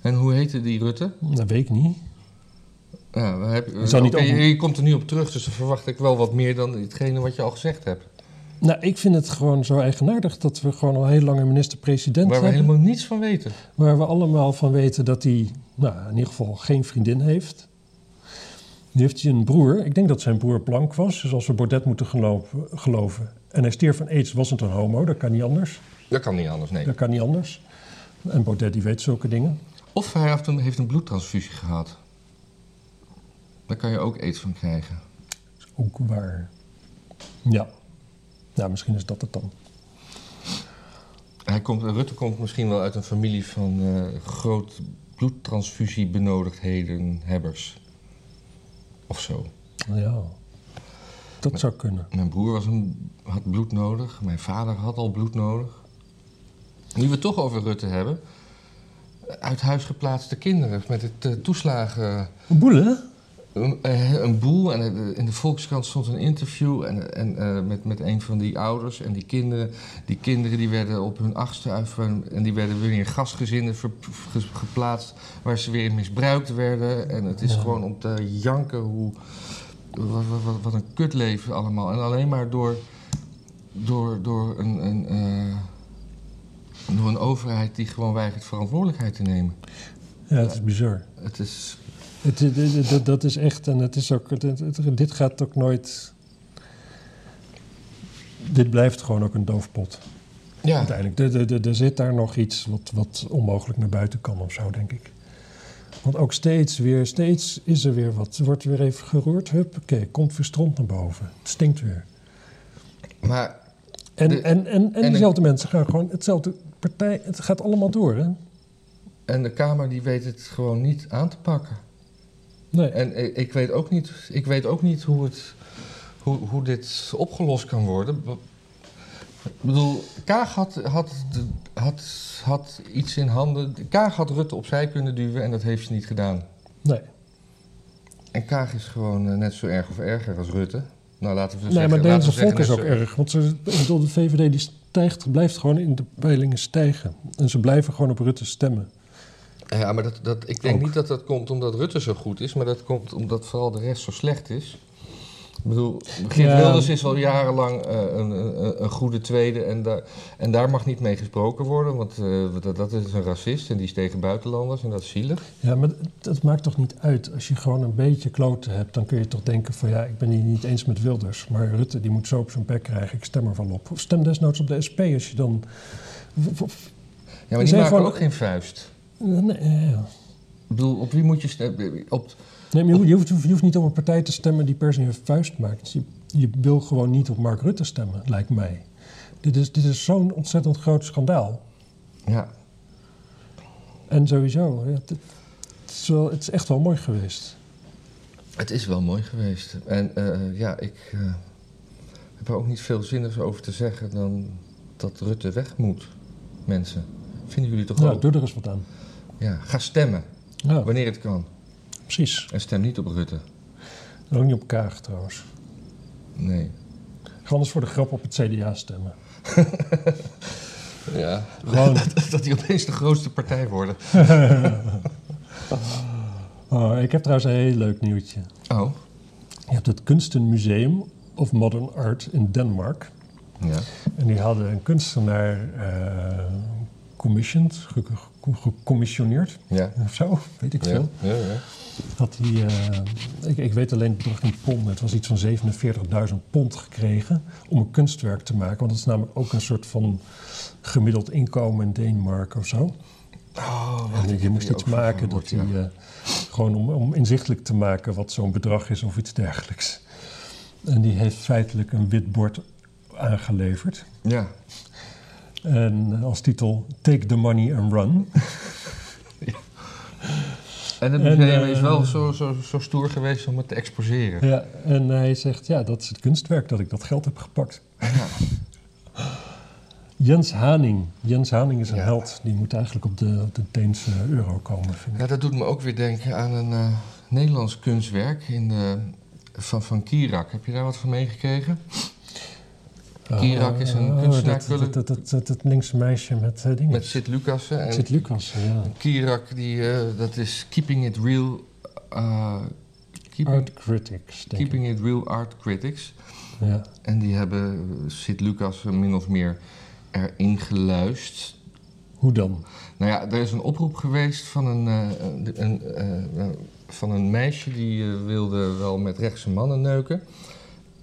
Speaker 2: En hoe heette die Rutte?
Speaker 1: Dat weet ik niet.
Speaker 2: Ja, we hebben-
Speaker 1: Is dat niet
Speaker 2: oké,
Speaker 1: ook-
Speaker 2: je, je komt er nu op terug, dus dan verwacht ik wel wat meer dan hetgene wat je al gezegd hebt.
Speaker 1: Nou, ik vind het gewoon zo eigenaardig dat we gewoon al heel lang een minister-president
Speaker 2: Waar we
Speaker 1: hebben.
Speaker 2: helemaal niets van weten.
Speaker 1: Waar we allemaal van weten dat hij, nou, in ieder geval geen vriendin heeft. Nu heeft hij een broer. Ik denk dat zijn broer blank was. Dus als we Bordet moeten geloven. geloven. En hij stierf van aids, was het een homo. Dat kan niet anders.
Speaker 2: Dat kan niet anders, nee.
Speaker 1: Dat kan niet anders. En Bordet die weet zulke dingen.
Speaker 2: Of hij heeft een, heeft een bloedtransfusie gehad. Daar kan je ook aids van krijgen.
Speaker 1: Is ook waar. Ja. Nou, misschien is dat het dan.
Speaker 2: Hij komt, Rutte komt misschien wel uit een familie van eh, groot bloedtransfusiebenodigdhedenhebbers. Of zo.
Speaker 1: Ja. Dat zou kunnen.
Speaker 2: Mijn broer was een, had bloed nodig. Mijn vader had al bloed nodig. Nu we het toch over Rutte hebben. eh, Uit huis geplaatste kinderen met het eh, toeslagen.
Speaker 1: Boelen?
Speaker 2: Een, eh, een boel. En eh, in de Volkskrant stond een interview en, en, eh, met, met een van die ouders en die kinderen. Die kinderen die werden op hun achtste uit- en die werden weer in gastgezinnen ver- ge- geplaatst. Waar ze weer in misbruikt werden. En het is
Speaker 1: Ja.
Speaker 2: gewoon om te janken hoe. Wat, wat- wat, wat een kutleven allemaal. En alleen maar door. door, door een. een eh, door een overheid die gewoon weigert verantwoordelijkheid te nemen.
Speaker 1: Ja, het is bizar.
Speaker 2: Het is.
Speaker 1: Het, het- het- dat- dat is echt, en het is ook, het- het- het- dit gaat ook nooit. Dit blijft gewoon ook een doofpot.
Speaker 2: Ja.
Speaker 1: Uiteindelijk. Er- Er, er, er zit daar nog iets wat, wat onmogelijk naar buiten kan of zo, denk ik. Want ook steeds weer, steeds is er weer wat. Er Wordt weer even geroerd, huppakee, komt weer stront naar boven. Het stinkt weer.
Speaker 2: Maar
Speaker 1: En,
Speaker 2: De-
Speaker 1: en, en, en,
Speaker 2: en-
Speaker 1: dezelfde mensen gaan gewoon, hetzelfde partij, het gaat allemaal door, hè?
Speaker 2: En de Kamer die weet het gewoon niet aan te pakken.
Speaker 1: Nee.
Speaker 2: En eh, ik weet ook niet, ik weet ook niet hoe, het, hoe, hoe dit opgelost kan worden. B- Ik bedoel, Kaag had, had, de- had, had iets in handen. Kaag had Rutte opzij kunnen duwen en dat heeft ze niet gedaan.
Speaker 1: nee.
Speaker 2: En Kaag is gewoon eh, net zo erg of erger als Rutte. Nou, laten we
Speaker 1: Nee,
Speaker 2: zeggen...
Speaker 1: maar het
Speaker 2: laten
Speaker 1: Nederlandse
Speaker 2: we
Speaker 1: volk is
Speaker 2: zeggen
Speaker 1: ook
Speaker 2: net zo-
Speaker 1: erg. Want ze, ik bedoel, de VVD die stijgt, blijft gewoon in de peilingen stijgen. En ze blijven gewoon op Rutte stemmen.
Speaker 2: Eh, Ja, maar dat, dat, ik denk
Speaker 1: Ook.
Speaker 2: niet dat dat komt omdat Rutte zo goed is, maar dat komt omdat vooral de rest zo slecht is. Ik bedoel, Geert
Speaker 1: Ja.
Speaker 2: Wilders is al jarenlang eh, een, een, een goede tweede en, daar en daar mag niet mee gesproken worden, want eh, dat, dat is een racist en die is tegen buitenlanders en dat is zielig.
Speaker 1: Ja, maar dat- dat maakt toch niet uit. Als je gewoon een beetje kloten hebt, dan kun je toch denken van... ja, ik ben hier niet eens met Wilders. Maar Rutte, die moet zo op zijn bek krijgen. Ik stem er wel op. Of stem desnoods op de SP als je dan... of- of-
Speaker 2: Ja, maar die
Speaker 1: zijn
Speaker 2: maken
Speaker 1: gewoon-
Speaker 2: ook geen vuist.
Speaker 1: nee, ja, ja.
Speaker 2: Ik bedoel, op wie moet je stemmen? Op,
Speaker 1: Nee, maar je, hoeft- je hoeft, je hoeft niet op een partij te stemmen die per se een vuist maakt. Je, je wil gewoon niet op Mark Rutte stemmen, lijkt mij. Dit is, dit is zo'n ontzettend groot schandaal.
Speaker 2: ja,
Speaker 1: En sowieso, ja, het, het is wel, het is echt wel mooi geweest.
Speaker 2: Het is wel mooi geweest. En eh, ja, ik eh, heb er ook niet veel zinnigs over te zeggen dan dat Rutte weg moet, mensen. Vinden jullie toch
Speaker 1: Ja,
Speaker 2: ook?
Speaker 1: doe er eens wat aan.
Speaker 2: Ja, ga stemmen,
Speaker 1: Ja,
Speaker 2: wanneer het kan.
Speaker 1: precies.
Speaker 2: En stem niet op Rutte.
Speaker 1: En Ook niet op Kaag trouwens.
Speaker 2: Nee.
Speaker 1: Ga anders voor de grap op het CDA stemmen.
Speaker 2: Ja.
Speaker 1: Gewoon.
Speaker 2: (laughs) Dat die opeens de grootste partij worden.
Speaker 1: Oh, ik heb trouwens een heel leuk nieuwtje.
Speaker 2: Oh.
Speaker 1: Je hebt het Kunstenmuseum of Modern Art in Denemarken.
Speaker 2: Ja.
Speaker 1: En die hadden een kunstenaar eh commissioned, ge- ge- gecommissioneerd (laughs)
Speaker 2: Ja.
Speaker 1: of zo, weet ik
Speaker 2: Ja.
Speaker 1: veel.
Speaker 2: Ja, ja.
Speaker 1: Had hij, eh, ik, ik weet alleen het bedrag in pond, het was iets van 47.000 pond gekregen om een kunstwerk te maken. Want dat is namelijk ook een soort van gemiddeld inkomen in Denemarken of zo.
Speaker 2: Oh,
Speaker 1: En je moest iets maken dat hij, eh, gewoon om, om inzichtelijk te maken wat zo'n bedrag is of iets dergelijks. En die heeft feitelijk een wit bord aangeleverd.
Speaker 2: Ja.
Speaker 1: En als titel Take the Money and Run.
Speaker 2: En het
Speaker 1: En,
Speaker 2: museum
Speaker 1: eh,
Speaker 2: is wel zo, zo, zo stoer geweest om het te exposeren.
Speaker 1: Ja, en hij zegt, ja, dat is het kunstwerk dat ik dat geld heb gepakt.
Speaker 2: Ah.
Speaker 1: Jens Haning. Jens Haning is een
Speaker 2: Ja.
Speaker 1: held. Die moet eigenlijk op de, op de Deense euro komen, vind ik.
Speaker 2: Ja, dat doet me ook weer denken aan een eh, Nederlands kunstwerk in de, van, van Kirak. Heb je daar wat van meegekregen? Kirak is een
Speaker 1: Oh,
Speaker 2: kunstenaar,
Speaker 1: dat- Dat, dat, dat, dat, dat linkse meisje met eh, dingen.
Speaker 2: Met Sid Lucassen. En
Speaker 1: Zit Lucas, eh, ja.
Speaker 2: Kirak, die, eh, dat is Keeping It Real... eh, keeping,
Speaker 1: Art Critics, denk ik.
Speaker 2: keeping It Real Art Critics.
Speaker 1: Ja.
Speaker 2: En die hebben eh, Sid Lucas min of meer erin geluist.
Speaker 1: Hoe dan?
Speaker 2: Nou ja, er is een oproep geweest van een, eh, een, eh, eh, van een meisje die eh, wilde wel met rechtse mannen neuken.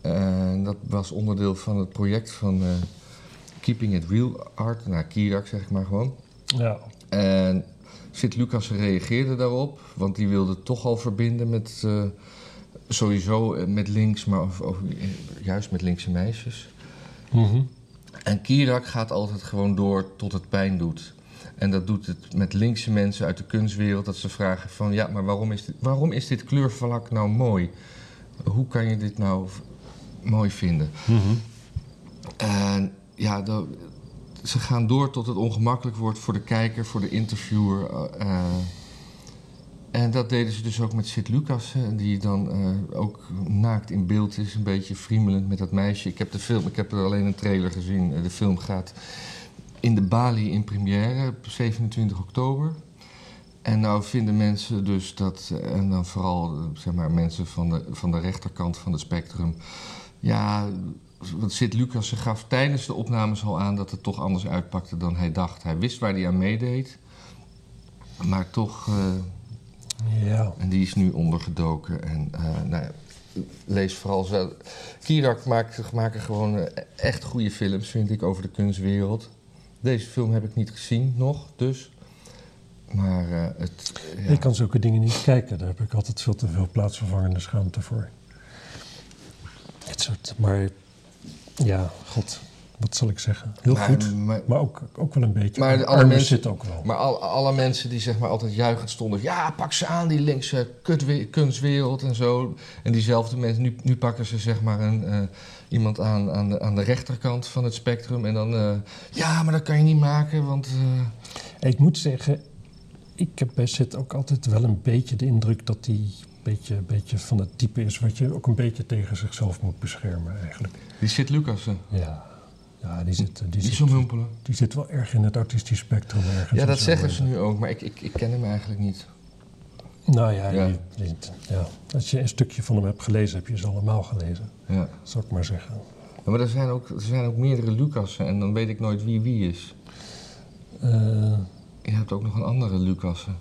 Speaker 2: Eh, En dat was onderdeel van het project van eh, Keeping It Real Art, nou Kirak zeg ik maar gewoon.
Speaker 1: Ja.
Speaker 2: En Sint Lucas reageerde daarop, want die wilde toch al verbinden met eh, sowieso eh, met links, maar of, of, eh, juist met linkse meisjes.
Speaker 1: Mhm.
Speaker 2: En Kirak gaat altijd gewoon door tot het pijn doet. En dat doet het met linkse mensen uit de kunstwereld. Dat ze vragen van, ja, maar waarom is dit, waarom is dit kleurvlak nou mooi? Hoe kan je dit nou v- mooi vinden?
Speaker 1: Mhm.
Speaker 2: En ja, dat- ze gaan door tot het ongemakkelijk wordt voor de kijker, voor de interviewer. eh, eh. en dat deden ze dus ook met Sid Lucas, hè, die dan eh, ook naakt in beeld is, een beetje friemelend met dat meisje. Ik heb de film, ik heb er alleen een trailer gezien. Eh, De film gaat in de Bali in première op 27 oktober. En nou vinden mensen dus dat, eh, en dan vooral eh, zeg maar, mensen van de, van de rechterkant van het spectrum. Ja, want Sid Lucas gaf tijdens de opnames al aan dat het toch anders uitpakte dan hij dacht. Hij wist waar hij aan meedeed, maar toch, eh,
Speaker 1: Ja.
Speaker 2: en die is nu ondergedoken. En eh, nou ja, lees vooral zelf. Kirak maakt, maken gewoon eh, echt goede films, vind ik, over de kunstwereld. Deze film heb ik niet gezien nog, dus. Maar eh, het. ja.
Speaker 1: Ik kan zulke dingen niet kijken. Daar heb ik altijd veel te veel plaatsvervangende schaamte voor. Dit soort, maar ja, god, wat zal ik zeggen? Heel
Speaker 2: Maar-
Speaker 1: goed,
Speaker 2: maar-
Speaker 1: maar ook, ook wel een beetje.
Speaker 2: Maar
Speaker 1: de
Speaker 2: alle
Speaker 1: arme
Speaker 2: mensen-
Speaker 1: zit ook wel.
Speaker 2: Maar al- alle mensen die zeg maar altijd juichend stonden... ja, pak ze aan, die linkse kutwe- kunstwereld en zo. En diezelfde mensen, nu, nu pakken ze zeg maar een, eh, iemand aan aan de, aan de rechterkant van het spectrum... en dan, eh, ja, maar dat kan je niet maken, want... eh,
Speaker 1: Ik moet zeggen, ik heb bij Sid ook altijd wel een beetje de indruk dat hij een beetje, beetje van het type is wat je ook een beetje tegen zichzelf moet beschermen eigenlijk.
Speaker 2: die zit Lucassen,
Speaker 1: Ja, ja die zit, die
Speaker 2: die
Speaker 1: zit,
Speaker 2: somhumpelen.
Speaker 1: die zit wel erg in het artistisch spectrum ergens.
Speaker 2: Ja,
Speaker 1: of
Speaker 2: dat
Speaker 1: zo.
Speaker 2: zeggen ze nu ook, maar ik, ik, ik ken hem eigenlijk niet.
Speaker 1: Nou ja,
Speaker 2: Ja.
Speaker 1: je- je- ja, als je een stukje van hem hebt gelezen, heb je ze allemaal gelezen.
Speaker 2: Ja.
Speaker 1: Zou ik maar zeggen.
Speaker 2: Maar er zijn, ook, er zijn ook meerdere Lucassen en dan weet ik nooit wie wie is.
Speaker 1: Eh,
Speaker 2: Je hebt ook nog een andere Lucassen.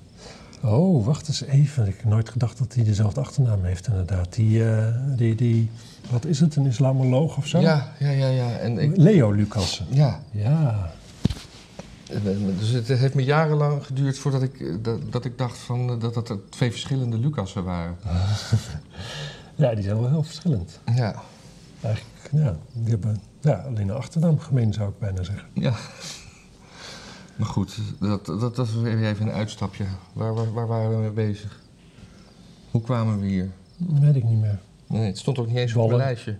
Speaker 1: oh, wacht eens even. Ik heb nooit gedacht dat hij dezelfde achternaam heeft, inderdaad. Die, eh, die, die wat is het, een islamoloog of zo?
Speaker 2: Ja, ja, ja, ja. En ik,
Speaker 1: Leo Lucassen.
Speaker 2: ja,
Speaker 1: Ja,
Speaker 2: Dus het heeft me jarenlang geduurd voordat ik, eh, dat, dat ik dacht van, eh, dat dat er twee verschillende Lucassen waren.
Speaker 1: ja die zijn wel heel verschillend.
Speaker 2: Ja.
Speaker 1: Eigenlijk, ja, die hebben ja, alleen een achternaam gemeen, zou ik bijna zeggen.
Speaker 2: ja. (laughs) Maar goed, dat, dat, dat is weer even een uitstapje. Waar, waar, waar waren we mee bezig? Hoe kwamen we hier?
Speaker 1: Weet ik niet meer.
Speaker 2: Nee, het stond ook niet eens op
Speaker 1: Wallen.
Speaker 2: mijn lijstje.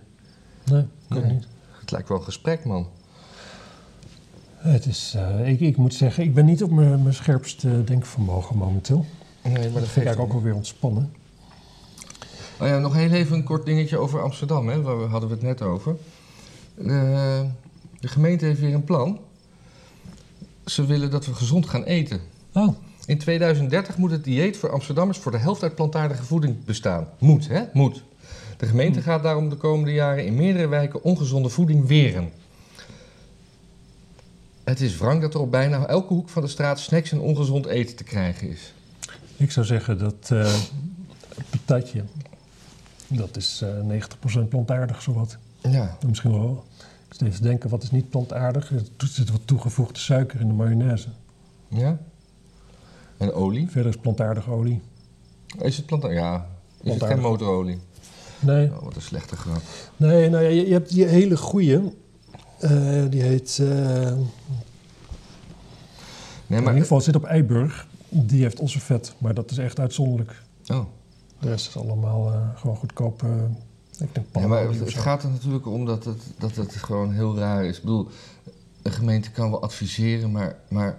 Speaker 1: Nee, kan
Speaker 2: Nee.
Speaker 1: niet.
Speaker 2: Het lijkt wel een gesprek, man.
Speaker 1: Het is, eh, ik, ik moet zeggen, ik ben niet op mijn mijn scherpste denkvermogen momenteel.
Speaker 2: Nee, maar
Speaker 1: Dat vind ik eigenlijk ook alweer ontspannen.
Speaker 2: Oh ja, nog heel even een kort dingetje over Amsterdam, hè? Waar we hadden we het net over. Eh, de gemeente heeft weer een plan. Ze willen dat we gezond gaan eten.
Speaker 1: Oh,
Speaker 2: In 2030 moet het dieet voor Amsterdammers voor de helft uit plantaardige voeding bestaan. Moet, hè? Moet. De gemeente gaat daarom de komende jaren in meerdere wijken ongezonde voeding weren. Het is wrang dat er op bijna elke hoek van de straat snacks en ongezond eten te krijgen is.
Speaker 1: ik zou zeggen dat eh patatje, dat is eh 90% plantaardig zowat.
Speaker 2: Ja,
Speaker 1: Misschien wel. Ik steeds denken, wat is niet plantaardig? Er zit wat toegevoegde suiker in de mayonaise.
Speaker 2: ja. En olie?
Speaker 1: Verder is plantaardige olie.
Speaker 2: Is het plantaardig? Ja. Is het geen
Speaker 1: Plantaardig.
Speaker 2: motorolie?
Speaker 1: Nee,
Speaker 2: Oh, wat een slechte grap.
Speaker 1: nee nou ja, je, je hebt die hele goeie. eh, die heet... eh,
Speaker 2: Nee,
Speaker 1: In ieder
Speaker 2: maar...
Speaker 1: geval zit op Eiburg. Die heeft onze vet, maar dat is echt uitzonderlijk.
Speaker 2: Oh.
Speaker 1: De rest is allemaal eh, gewoon goedkoop. eh, ik denk
Speaker 2: Ja,
Speaker 1: palmolie
Speaker 2: maar het,
Speaker 1: of
Speaker 2: het
Speaker 1: zo.
Speaker 2: gaat er natuurlijk om dat het, dat het gewoon heel raar is. Ik bedoel, een gemeente kan wel adviseren, maar, maar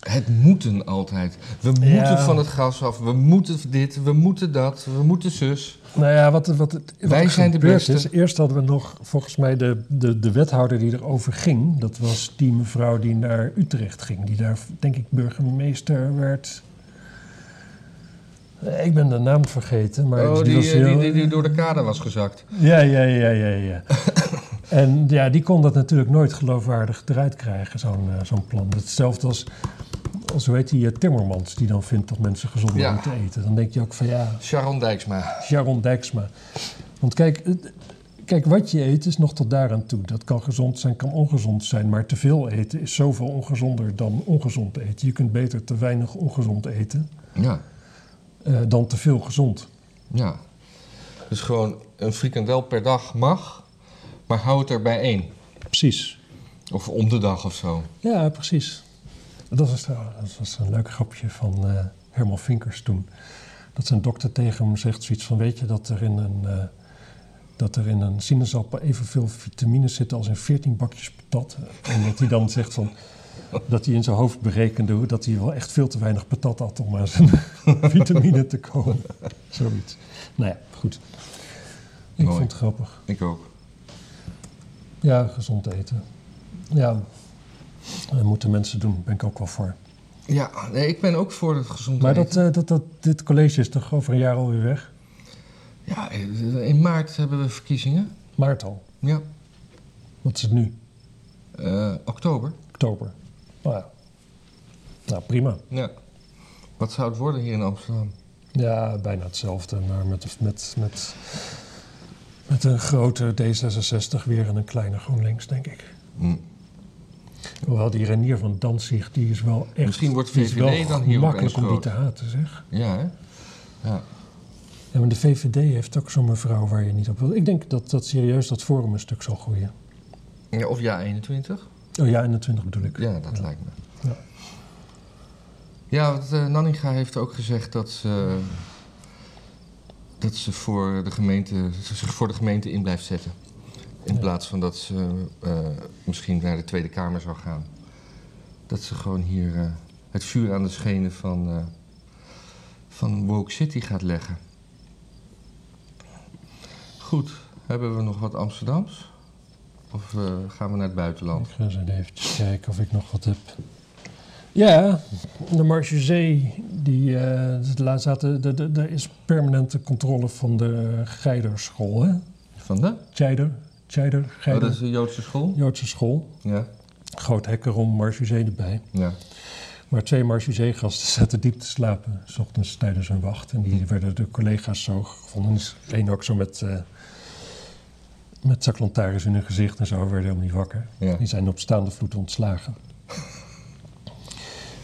Speaker 2: het moeten altijd. We moeten
Speaker 1: Ja.
Speaker 2: van het gas af, we moeten dit, we moeten dat, we moeten zus.
Speaker 1: Nou ja, wat, wat, wat
Speaker 2: Wij
Speaker 1: er
Speaker 2: zijn de
Speaker 1: gebeurd
Speaker 2: beste.
Speaker 1: Is, eerst hadden we nog volgens mij de, de, de wethouder die erover ging. Dat was die mevrouw die naar Utrecht ging. Die daar, denk ik, burgemeester werd. Eh, Ik ben de naam vergeten, maar
Speaker 2: oh,
Speaker 1: die,
Speaker 2: die,
Speaker 1: was
Speaker 2: eh,
Speaker 1: heel...
Speaker 2: die, die, die door de kade was gezakt.
Speaker 1: Ja, ja, ja, ja,
Speaker 2: (laughs)
Speaker 1: ja. en ja, die kon dat natuurlijk nooit geloofwaardig eruit krijgen, zo'n eh, zo'n plan. Hetzelfde als, als, hoe heet die, eh, Timmermans, die dan vindt dat mensen gezonder
Speaker 2: Ja.
Speaker 1: moeten eten. Dan denk je ook van, ja,
Speaker 2: Sharon Dijksma.
Speaker 1: Sharon Dijksma. Want kijk, het- kijk, wat je eet is nog tot daaraan toe. Dat kan gezond zijn, kan ongezond zijn. Maar te veel eten is zoveel ongezonder dan ongezond eten. Je kunt beter te weinig ongezond eten
Speaker 2: Ja,
Speaker 1: eh, dan te veel gezond.
Speaker 2: ja. Dus gewoon een frikandel per dag mag, maar hou het er bij één.
Speaker 1: Precies.
Speaker 2: Of om de dag of zo.
Speaker 1: Ja, precies. Dat was, trouwens- dat was een leuk grapje van eh, Herman Vinkers toen. Dat zijn dokter tegen hem zegt zoiets van... weet je dat er in een, eh, dat er in een sinaasappel evenveel vitamines zitten... als in 14 bakjes patat? En dat hij dan zegt van... dat hij in zijn hoofd berekende... hoe- dat hij wel echt veel te weinig patat had... om aan zijn (laughs) vitamine te komen. Zoiets. Nou ja, goed. Ik
Speaker 2: Mooi.
Speaker 1: vond het grappig.
Speaker 2: Ik ook.
Speaker 1: Ja, gezond eten. Ja, dat moeten mensen doen. Ben ik ook wel voor.
Speaker 2: Ja, nee, ik ben ook voor het gezond
Speaker 1: Maar
Speaker 2: eten.
Speaker 1: dat, eh, dat, dat, dit college is toch over een jaar alweer weg?
Speaker 2: Ja, eh, in maart hebben we verkiezingen.
Speaker 1: Maart al.
Speaker 2: Ja.
Speaker 1: Wat is het nu?
Speaker 2: Eh, oktober.
Speaker 1: Oktober. Nou ja. Nou, prima.
Speaker 2: Ja. Wat zou het worden hier in Amsterdam?
Speaker 1: Ja, bijna hetzelfde. Maar met, met, met, met een grote D66 weer en een kleine GroenLinks, denk ik.
Speaker 2: Hm.
Speaker 1: Hoewel die Renier van Danzig, die is wel echt...
Speaker 2: Misschien wordt
Speaker 1: die is
Speaker 2: VVD
Speaker 1: wel
Speaker 2: dan hier
Speaker 1: makkelijk
Speaker 2: opeens
Speaker 1: om die
Speaker 2: groot.
Speaker 1: te haten, zeg.
Speaker 2: Ja, hè? Ja.
Speaker 1: Ja, maar de VVD heeft ook zo'n mevrouw waar je niet op wil. Ik denk dat, dat serieus dat Forum een stuk zal groeien.
Speaker 2: Ja, Of ja, 21?
Speaker 1: Oh ja, 21 bedoel ik.
Speaker 2: Ja, dat lijkt me.
Speaker 1: Ja.
Speaker 2: Ja, want eh, Nanninga heeft ook gezegd dat ze, eh, dat ze voor de gemeente, ze zich voor de gemeente in blijft zetten. In
Speaker 1: Ja.
Speaker 2: plaats van dat ze eh, misschien naar de Tweede Kamer zou gaan. Dat ze gewoon hier eh, het vuur aan de schenen van, eh, van Woke City gaat leggen. Goed, hebben we nog wat Amsterdams? Of eh, gaan we naar het buitenland?
Speaker 1: Ik ga eens even kijken of ik nog wat heb. Ja, de Marchezee, die eh, de laatste zaten, de, de, er is permanente controle van de Geiderschool, hè?
Speaker 2: Van de?
Speaker 1: Geider, Geider,
Speaker 2: Oh,
Speaker 1: Geider,
Speaker 2: dat is de Joodse school?
Speaker 1: Joodse school.
Speaker 2: Ja.
Speaker 1: Groot hek erom, Marchezee erbij.
Speaker 2: ja.
Speaker 1: Maar twee Marchezee-gasten zaten diep te slapen, s ochtends tijdens hun wacht. En die
Speaker 2: Hm.
Speaker 1: werden door collega's zo gevonden. Dus één ook zo met, eh met zaklantaarns in hun gezicht en zo, werden helemaal niet wakker.
Speaker 2: ja.
Speaker 1: Die zijn op staande voet
Speaker 2: (laughs)
Speaker 1: ontslagen.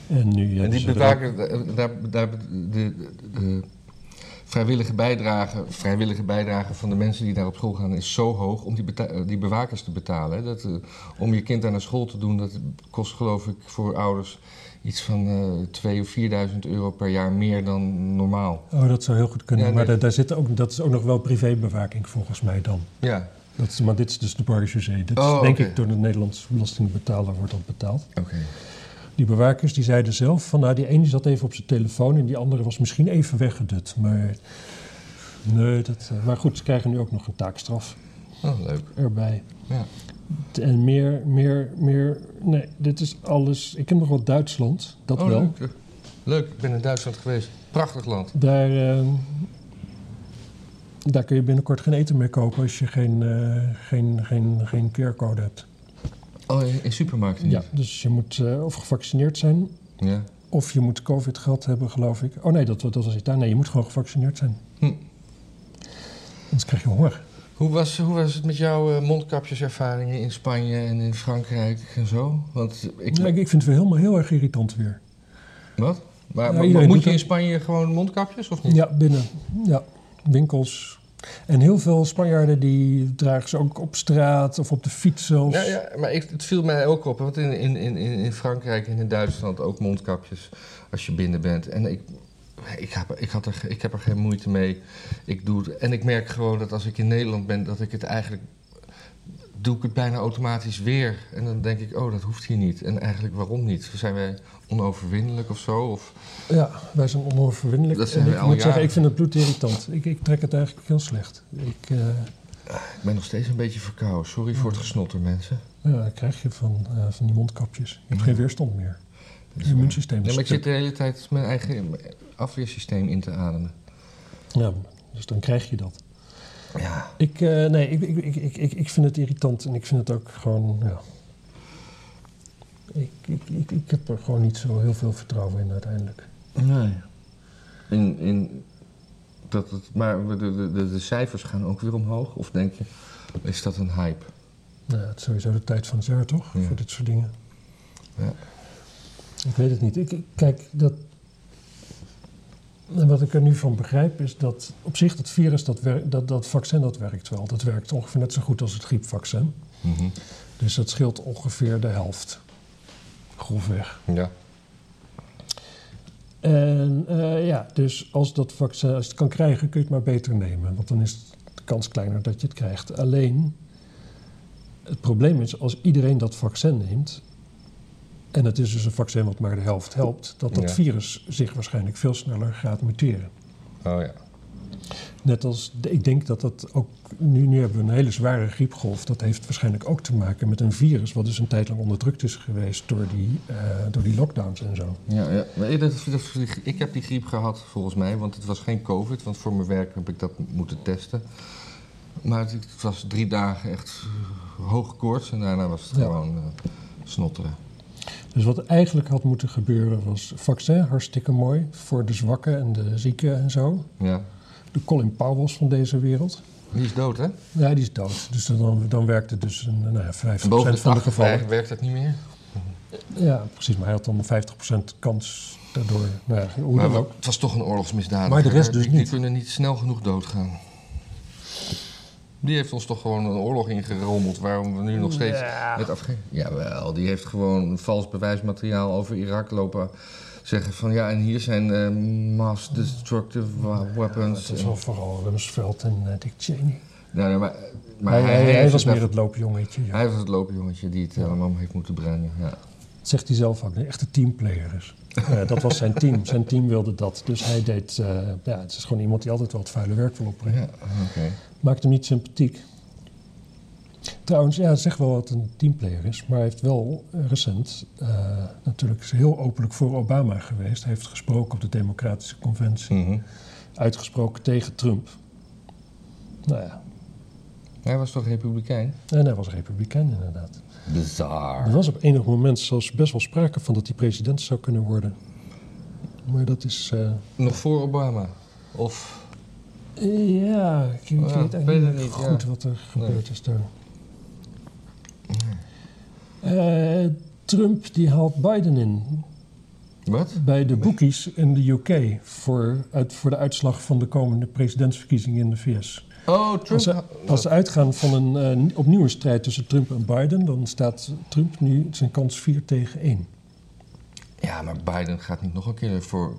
Speaker 1: En nu
Speaker 2: En
Speaker 1: hebben
Speaker 2: die
Speaker 1: ze er
Speaker 2: bewaken, eh, daar, daar, de, de, de vrijwillige, bijdrage, vrijwillige bijdrage van de mensen die daar op school gaan is zo hoog om die, beta- eh, die bewakers te betalen. Hè. Dat, eh, om je kind daar naar school te doen, dat kost geloof ik voor ouders iets van eh 2.000 of 4.000 euro per jaar meer dan normaal.
Speaker 1: ook- Oh, dat zou heel goed kunnen.
Speaker 2: Ja, nee.
Speaker 1: Maar daar, daar zit ook, dat is ook nog wel privébewaking volgens mij dan.
Speaker 2: Ja,
Speaker 1: Dat is, maar dit is dus de Parijsjuzee. Dit
Speaker 2: Oh,
Speaker 1: is denk
Speaker 2: oké.
Speaker 1: ik door de Nederlandse belastingbetaler wordt dat betaald.
Speaker 2: oké.
Speaker 1: Die bewakers die zeiden zelf van nou die ene zat even op zijn telefoon en die andere was misschien even weggedut. Maar nee, dat, eh, maar goed, ze krijgen nu ook nog een taakstraf.
Speaker 2: Oh, leuk.
Speaker 1: erbij.
Speaker 2: Ja.
Speaker 1: En meer, meer, meer. Nee, dit is alles. Ik ken nog wel Duitsland, dat
Speaker 2: oh,
Speaker 1: wel.
Speaker 2: Leuk. leuk, ik ben in Duitsland geweest. Prachtig land.
Speaker 1: Daar, eh, daar kun je binnenkort geen eten meer kopen als je geen, eh, geen, geen, geen QR-code hebt.
Speaker 2: Oh, in, in supermarkten
Speaker 1: Ja,
Speaker 2: niet?
Speaker 1: dus je moet eh, of gevaccineerd zijn,
Speaker 2: Ja.
Speaker 1: of je moet COVID gehad hebben, geloof ik. Oh nee, dat, dat was daar. Nee, je moet gewoon gevaccineerd zijn.
Speaker 2: Hm.
Speaker 1: Anders krijg je honger.
Speaker 2: Hoe was, hoe was het met jouw eh, mondkapjeservaringen in Spanje en in Frankrijk en zo? Want ik...
Speaker 1: Ja, Ik, ik vind het weer helemaal heel erg irritant weer.
Speaker 2: Wat? Maar,
Speaker 1: Ja,
Speaker 2: maar-
Speaker 1: iedereen
Speaker 2: maar moet
Speaker 1: doet
Speaker 2: je in
Speaker 1: dat.
Speaker 2: Spanje gewoon mondkapjes of niet?
Speaker 1: Ja, binnen. Ja, winkels. En heel veel Spanjaarden die dragen ze ook op straat of op de fiets zelfs.
Speaker 2: Ja, ja, maar ik, het viel mij ook op. hè, Want in, in, in, in in Frankrijk en in Duitsland ook mondkapjes als je binnen bent. En ik, ik, heb, ik, had er, ge- ik heb er geen moeite mee. Ik doe het. En ik merk gewoon dat als ik in Nederland ben, dat ik het eigenlijk... Doe ik het bijna automatisch weer. En dan denk ik, oh, dat hoeft hier niet. En eigenlijk, waarom niet? Zijn wij onoverwinnelijk of zo? Of,
Speaker 1: Ja, wij zijn onoverwinnelijk.
Speaker 2: Dat zijn
Speaker 1: En
Speaker 2: we
Speaker 1: ik
Speaker 2: al
Speaker 1: moet zeggen,
Speaker 2: jaren.
Speaker 1: ik vind het bloed irritant. Ik, ik trek het eigenlijk heel slecht. Ik, eh,
Speaker 2: ik ben nog steeds een beetje verkouden. Sorry voor het gesnotter, mensen.
Speaker 1: ja, daar krijg je van, eh, van die mondkapjes. Je hebt geen weerstand meer.
Speaker 2: Dat
Speaker 1: Je
Speaker 2: is waar.
Speaker 1: immuunsysteem is
Speaker 2: Nee, maar ik zit
Speaker 1: stuk.
Speaker 2: de hele tijd mijn eigen afweersysteem in te ademen.
Speaker 1: Ja, dus dan krijg je dat.
Speaker 2: Ja,
Speaker 1: Ik, eh, nee, ik, ik, ik, ik, ik, ik vind het irritant en ik vind het ook gewoon, ja... Ik, ik, ik, ik heb er gewoon niet zo heel veel vertrouwen in uiteindelijk.
Speaker 2: Nee. In, in dat het, maar de, de, de, de cijfers gaan ook weer omhoog? Of denk je, is dat een hype?
Speaker 1: Nou, het is sowieso de tijd van het jaar, toch?
Speaker 2: Ja.
Speaker 1: Voor dit soort dingen.
Speaker 2: Ja.
Speaker 1: Ik weet het niet. Ik, ik- kijk, dat... en Wat ik er nu van begrijp is dat op zich dat virus, dat, wer- dat, dat vaccin, dat werkt wel. Dat werkt ongeveer net zo goed als het griepvaccin.
Speaker 2: Mhm.
Speaker 1: Dus dat scheelt ongeveer de helft. Grofweg.
Speaker 2: Ja.
Speaker 1: En eh, ja, dus als, dat vaccin, als je het kan krijgen, kun je het maar beter nemen. Want dan is de kans kleiner dat je het krijgt. Alleen, het probleem is, als iedereen dat vaccin neemt... en het is dus een vaccin wat maar de helft helpt... dat dat
Speaker 2: Ja.
Speaker 1: virus zich waarschijnlijk veel sneller gaat muteren.
Speaker 2: Oh ja.
Speaker 1: Net als, de- ik denk dat dat ook... Nu, nu hebben we een hele zware griepgolf. Dat heeft waarschijnlijk ook te maken met een virus... wat dus een tijd lang onderdrukt is geweest door die, eh, door die lockdowns en zo.
Speaker 2: ja, ja. Maar ik- dat- dat- ik heb die griep gehad, volgens mij, want het was geen COVID. Want voor mijn werk heb ik dat moeten testen. Maar het, het was drie dagen echt eh, hoog koorts en daarna was het
Speaker 1: Ja.
Speaker 2: gewoon eh, snotteren.
Speaker 1: Dus wat eigenlijk had moeten gebeuren was vaccin, hartstikke mooi voor de zwakken en de zieken en zo.
Speaker 2: Ja.
Speaker 1: De Colin Powells van deze wereld.
Speaker 2: Die is dood, hè?
Speaker 1: Ja, die is dood. Dus dan, dan werkt het dus een, nou ja, 50%
Speaker 2: Boven de
Speaker 1: van de
Speaker 2: 80
Speaker 1: gevallen.
Speaker 2: eigenlijk werkt dat niet meer.
Speaker 1: Ja, precies. Maar hij had dan 50% kans daardoor. Nou ja, hoe
Speaker 2: Maar
Speaker 1: dan ook.
Speaker 2: het was toch een oorlogsmisdaad.
Speaker 1: Maar de rest dus
Speaker 2: die, die
Speaker 1: niet.
Speaker 2: kunnen niet snel genoeg doodgaan. Die heeft ons toch gewoon een oorlog ingerommeld. Waarom we nu nog steeds
Speaker 1: Ja.
Speaker 2: met afge... Jawel, die heeft gewoon vals bewijsmateriaal over Irak lopen. Zeggen van ja, en hier zijn eh, mass destructive wa- weapons.
Speaker 1: Het is wel vooral Rumsfeld en eh, Dick Cheney.
Speaker 2: Nou, nee, maar, maar
Speaker 1: hij, hij,
Speaker 2: heeft
Speaker 1: was
Speaker 2: het
Speaker 1: meer het loopjongetje. Ja.
Speaker 2: Hij was het loopjongetje die het helemaal om heeft moeten brengen. Ja.
Speaker 1: Dat zegt hij zelf ook, een echte teamplayer is. Nou ja, dat was zijn team. Zijn team wilde dat. Dus hij deed... eh, ja, het is gewoon iemand die altijd wel het vuile werk wil opbrengen.
Speaker 2: Ja, oké.
Speaker 1: Maakt hem niet sympathiek. Trouwens, ja, het zegt wel wat een teamplayer is, maar hij heeft wel eh, recent eh, natuurlijk is heel openlijk voor Obama geweest. Hij heeft gesproken op de Democratische Conventie,
Speaker 2: Mhm.
Speaker 1: uitgesproken tegen Trump. Nou ja,
Speaker 2: Hij was toch republikein?
Speaker 1: en hij was republikein inderdaad.
Speaker 2: Bizar.
Speaker 1: Er was op enig moment zelfs best wel sprake van dat hij president zou kunnen worden. Maar dat is. eh,
Speaker 2: Nog voor Obama? Of...
Speaker 1: Ja, ik, ik
Speaker 2: Ja,
Speaker 1: weet eigenlijk
Speaker 2: weet het
Speaker 1: niet
Speaker 2: niet,
Speaker 1: goed
Speaker 2: ja.
Speaker 1: wat er gebeurd is daar. Eh, Trump die haalt Biden in
Speaker 2: Wat?
Speaker 1: bij de bookies in de UK voor, uit, voor de uitslag van de komende presidentsverkiezingen in de VS.
Speaker 2: Oh, Trump.
Speaker 1: Als ze, als ze uitgaan van een eh, ni- opnieuw een strijd tussen Trump en Biden, dan staat Trump nu zijn kans 4 tegen 1.
Speaker 2: Ja, maar Biden gaat niet nog een keer voor.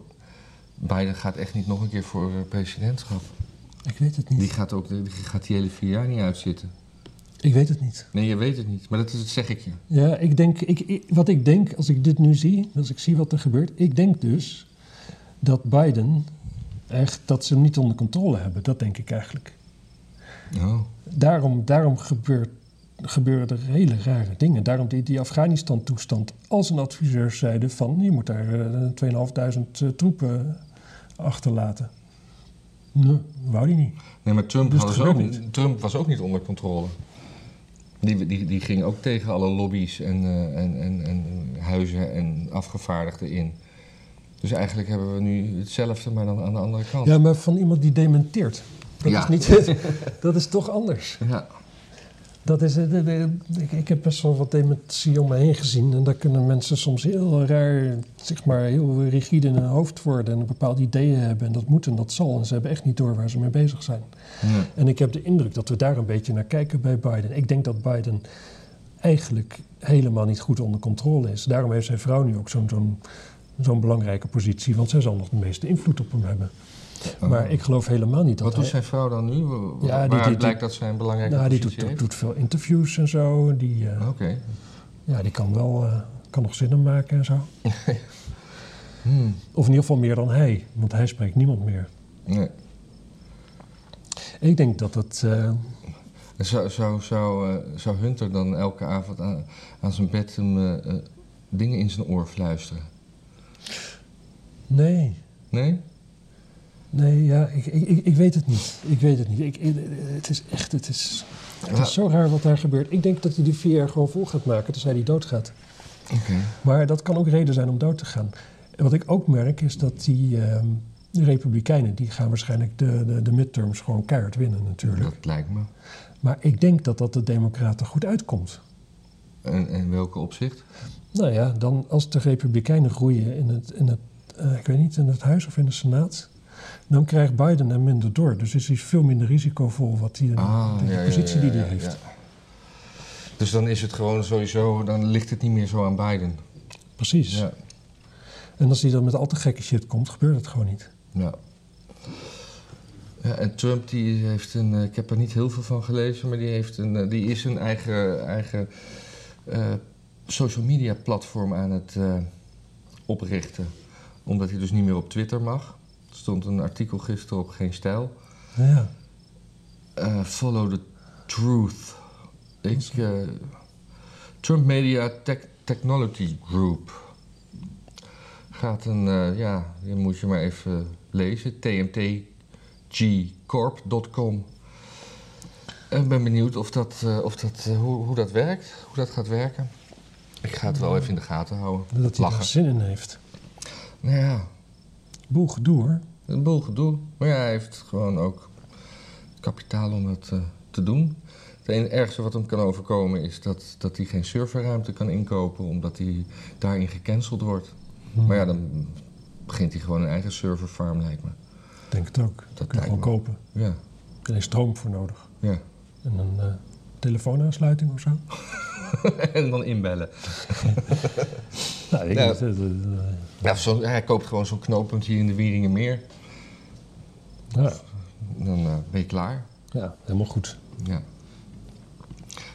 Speaker 2: Biden gaat echt niet nog een keer voor eh, presidentschap.
Speaker 1: Ik weet het
Speaker 2: Die
Speaker 1: niet.
Speaker 2: gaat ook die gaat die hele vier jaar niet uitzitten.
Speaker 1: Ik weet het niet.
Speaker 2: Nee, je weet het niet, maar dat, is, dat zeg ik je.
Speaker 1: Ja, ik denk, ik, ik- wat ik denk als ik dit nu zie, als ik zie wat er gebeurt, ik denk dus dat Biden echt, dat ze hem niet onder controle hebben. Dat denk ik eigenlijk.
Speaker 2: Oh.
Speaker 1: Daarom, daarom gebeurt, gebeuren er hele rare dingen. Daarom die, die Afghanistan-toestand. Als een adviseur zeiden van je moet daar eh, 2500 eh, troepen achterlaten. Nee, wou die niet.
Speaker 2: Nee, maar Trump,
Speaker 1: Dus
Speaker 2: hadden
Speaker 1: het
Speaker 2: ze ook
Speaker 1: gebeurt
Speaker 2: niet. Trump was ook niet onder controle. Die, die, die ging ook tegen alle lobby's en, eh, en, en, en huizen en afgevaardigden in. Dus eigenlijk hebben we nu hetzelfde, maar dan aan de andere kant.
Speaker 1: Ja, maar van iemand die dementeert. Dat,
Speaker 2: Ja.
Speaker 1: is, niet, dat is toch anders.
Speaker 2: Ja.
Speaker 1: Dat is, eh, de- de- ik, ik heb best wel wat dementie om me heen gezien. En daar kunnen mensen soms heel raar, zeg maar, heel rigide in hun hoofd worden. En een bepaald idee hebben. En dat moet en dat zal. En ze hebben echt niet door waar ze mee bezig zijn.
Speaker 2: Ja.
Speaker 1: En ik heb de indruk dat we daar een beetje naar kijken bij Biden. Ik denk dat Biden eigenlijk helemaal niet goed onder controle is. Daarom heeft zijn vrouw nu ook zo'n zo'n zo'n belangrijke positie, want zij zal nog de meeste invloed op hem hebben. Maar ik geloof helemaal niet dat
Speaker 2: Oh. Wat doet
Speaker 1: hij...
Speaker 2: zijn vrouw dan nu? Wa-
Speaker 1: Ja, die-
Speaker 2: Waaruit
Speaker 1: die- die-
Speaker 2: blijkt dat zij een belangrijke
Speaker 1: nou, die
Speaker 2: positie
Speaker 1: doet, doet,
Speaker 2: heeft?
Speaker 1: doet veel interviews en zo. Die, eh,
Speaker 2: Oké.
Speaker 1: ja, die kan wel eh, kan nog zinnen maken en zo.
Speaker 2: Hmm.
Speaker 1: Of in ieder geval meer dan hij, want hij spreekt niemand meer.
Speaker 2: Nee.
Speaker 1: Ik denk dat dat... eh,
Speaker 2: Zou, zou, zou, eh, zou Hunter dan elke avond aan, aan zijn bed hem eh, eh, dingen in zijn oor fluisteren?
Speaker 1: nee,
Speaker 2: Nee?
Speaker 1: Nee, ja, ik, ik, ik, ik weet het niet. Ik weet het niet. Ik, ik- het is echt, het is, het
Speaker 2: Ja.
Speaker 1: is zo raar wat daar gebeurt. Ik denk dat hij die vier jaar gewoon vol gaat maken, tenzij hij doodgaat.
Speaker 2: Oké.
Speaker 1: Maar dat kan ook reden zijn om dood te gaan. En wat ik ook merk is dat die ehm, de republikeinen, die gaan waarschijnlijk de, de, de midterms gewoon keihard winnen natuurlijk.
Speaker 2: Dat lijkt me.
Speaker 1: Maar ik denk dat dat de democraten goed uitkomt.
Speaker 2: En in welke opzicht?
Speaker 1: Nou ja, dan als de Republikeinen groeien in het, in het eh, ik weet niet, in het Huis of in de Senaat, dan krijgt Biden hem minder door. Dus is hij veel minder risicovol wat hij, de positie die hij heeft.
Speaker 2: Ah, ja. Dus dan is het gewoon sowieso, dan ligt het niet meer zo aan Biden.
Speaker 1: Precies. En als hij dan met al te gekke shit komt, gebeurt het gewoon niet.
Speaker 2: ja. Ja, en Trump die heeft een, eh, ik heb er niet heel veel van gelezen, maar die, heeft een, eh, die is een eigen, eigen eh, social media platform aan het eh, oprichten. Omdat hij dus niet meer op Twitter mag. Er stond een artikel gisteren op Geen Stijl.
Speaker 1: Nou ja,
Speaker 2: Uh, follow the truth. Ik, eh, Trump Media Tech- Technology Group gaat een, eh, ja, die moet je maar even lezen. tmtgcorp.com. Ik ben benieuwd of dat, eh, of dat, eh, hoe, hoe dat werkt, hoe dat gaat werken. Ik ga het wel even in de gaten houden.
Speaker 1: dat hij daar
Speaker 2: Lachen.
Speaker 1: zin in heeft.
Speaker 2: Nou ja,
Speaker 1: Boel gedoe hoor.
Speaker 2: een boel gedoe. Maar ja, hij heeft gewoon ook kapitaal om dat eh, te doen. Het enige ergste wat hem kan overkomen is dat, dat hij geen serverruimte kan inkopen, omdat hij daarin gecanceld wordt.
Speaker 1: Hmm.
Speaker 2: Maar ja, dan begint hij gewoon een eigen serverfarm, lijkt me.
Speaker 1: Ik denk het ook. Dat
Speaker 2: lijkt
Speaker 1: kan je gewoon
Speaker 2: me.
Speaker 1: kopen.
Speaker 2: Ja,
Speaker 1: Er is stroom voor nodig.
Speaker 2: ja. (laughs)
Speaker 1: En een eh, telefoonaansluiting of zo.
Speaker 2: en dan inbellen.
Speaker 1: Nou, ik
Speaker 2: (laughs) Ja.
Speaker 1: dat- dat- dat- dat-
Speaker 2: Ja, zo, hij koopt gewoon zo'n knooppunt hier in de Wieringenmeer.
Speaker 1: ja.
Speaker 2: Dan eh, ben je klaar.
Speaker 1: ja, helemaal goed. (laughs)
Speaker 2: Ja.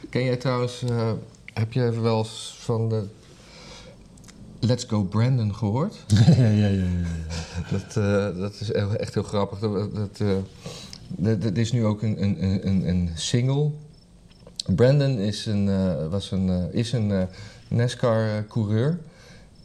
Speaker 2: Ken jij trouwens, eh, heb je wel eens van de Let's Go Brandon gehoord?
Speaker 1: ja, ja, ja, ja, ja.
Speaker 2: Dat, eh, dat is heel- echt heel grappig. Dat, dat, eh, dat, dat is nu ook een, een, een- een, een single. Brandon is een, eh, was een, eh, is een NASCAR-coureur.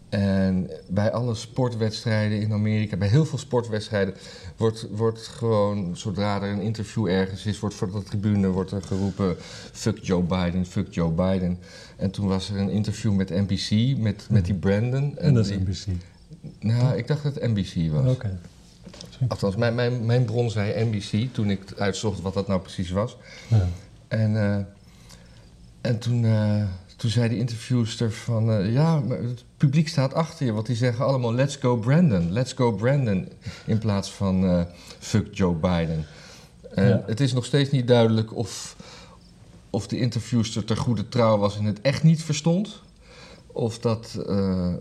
Speaker 2: En bij alle sportwedstrijden in Amerika, bij heel veel sportwedstrijden, wordt, wordt gewoon, zodra er een interview ergens is, wordt voor de tribune wordt er geroepen: fuck Joe Biden, fuck Joe Biden. En toen was er een interview met NBC, met, met die Brandon.
Speaker 1: En dat is
Speaker 2: die-
Speaker 1: NBC.
Speaker 2: Nou, ik dacht dat het NBC was.
Speaker 1: Oké.
Speaker 2: Althans, mijn, mijn, mijn bron zei NBC toen ik uitzocht wat dat nou precies was.
Speaker 1: Ja.
Speaker 2: En, eh, en toen, eh, toen zei de interviewster van... eh, ja, maar het publiek staat achter je, want die zeggen allemaal... Let's go Brandon, let's go Brandon. In plaats van eh, fuck Joe Biden. En
Speaker 1: Ja.
Speaker 2: Het is nog steeds niet duidelijk of, of de interviewster ter goede trouw was... en het echt niet verstond. Of dat... eh,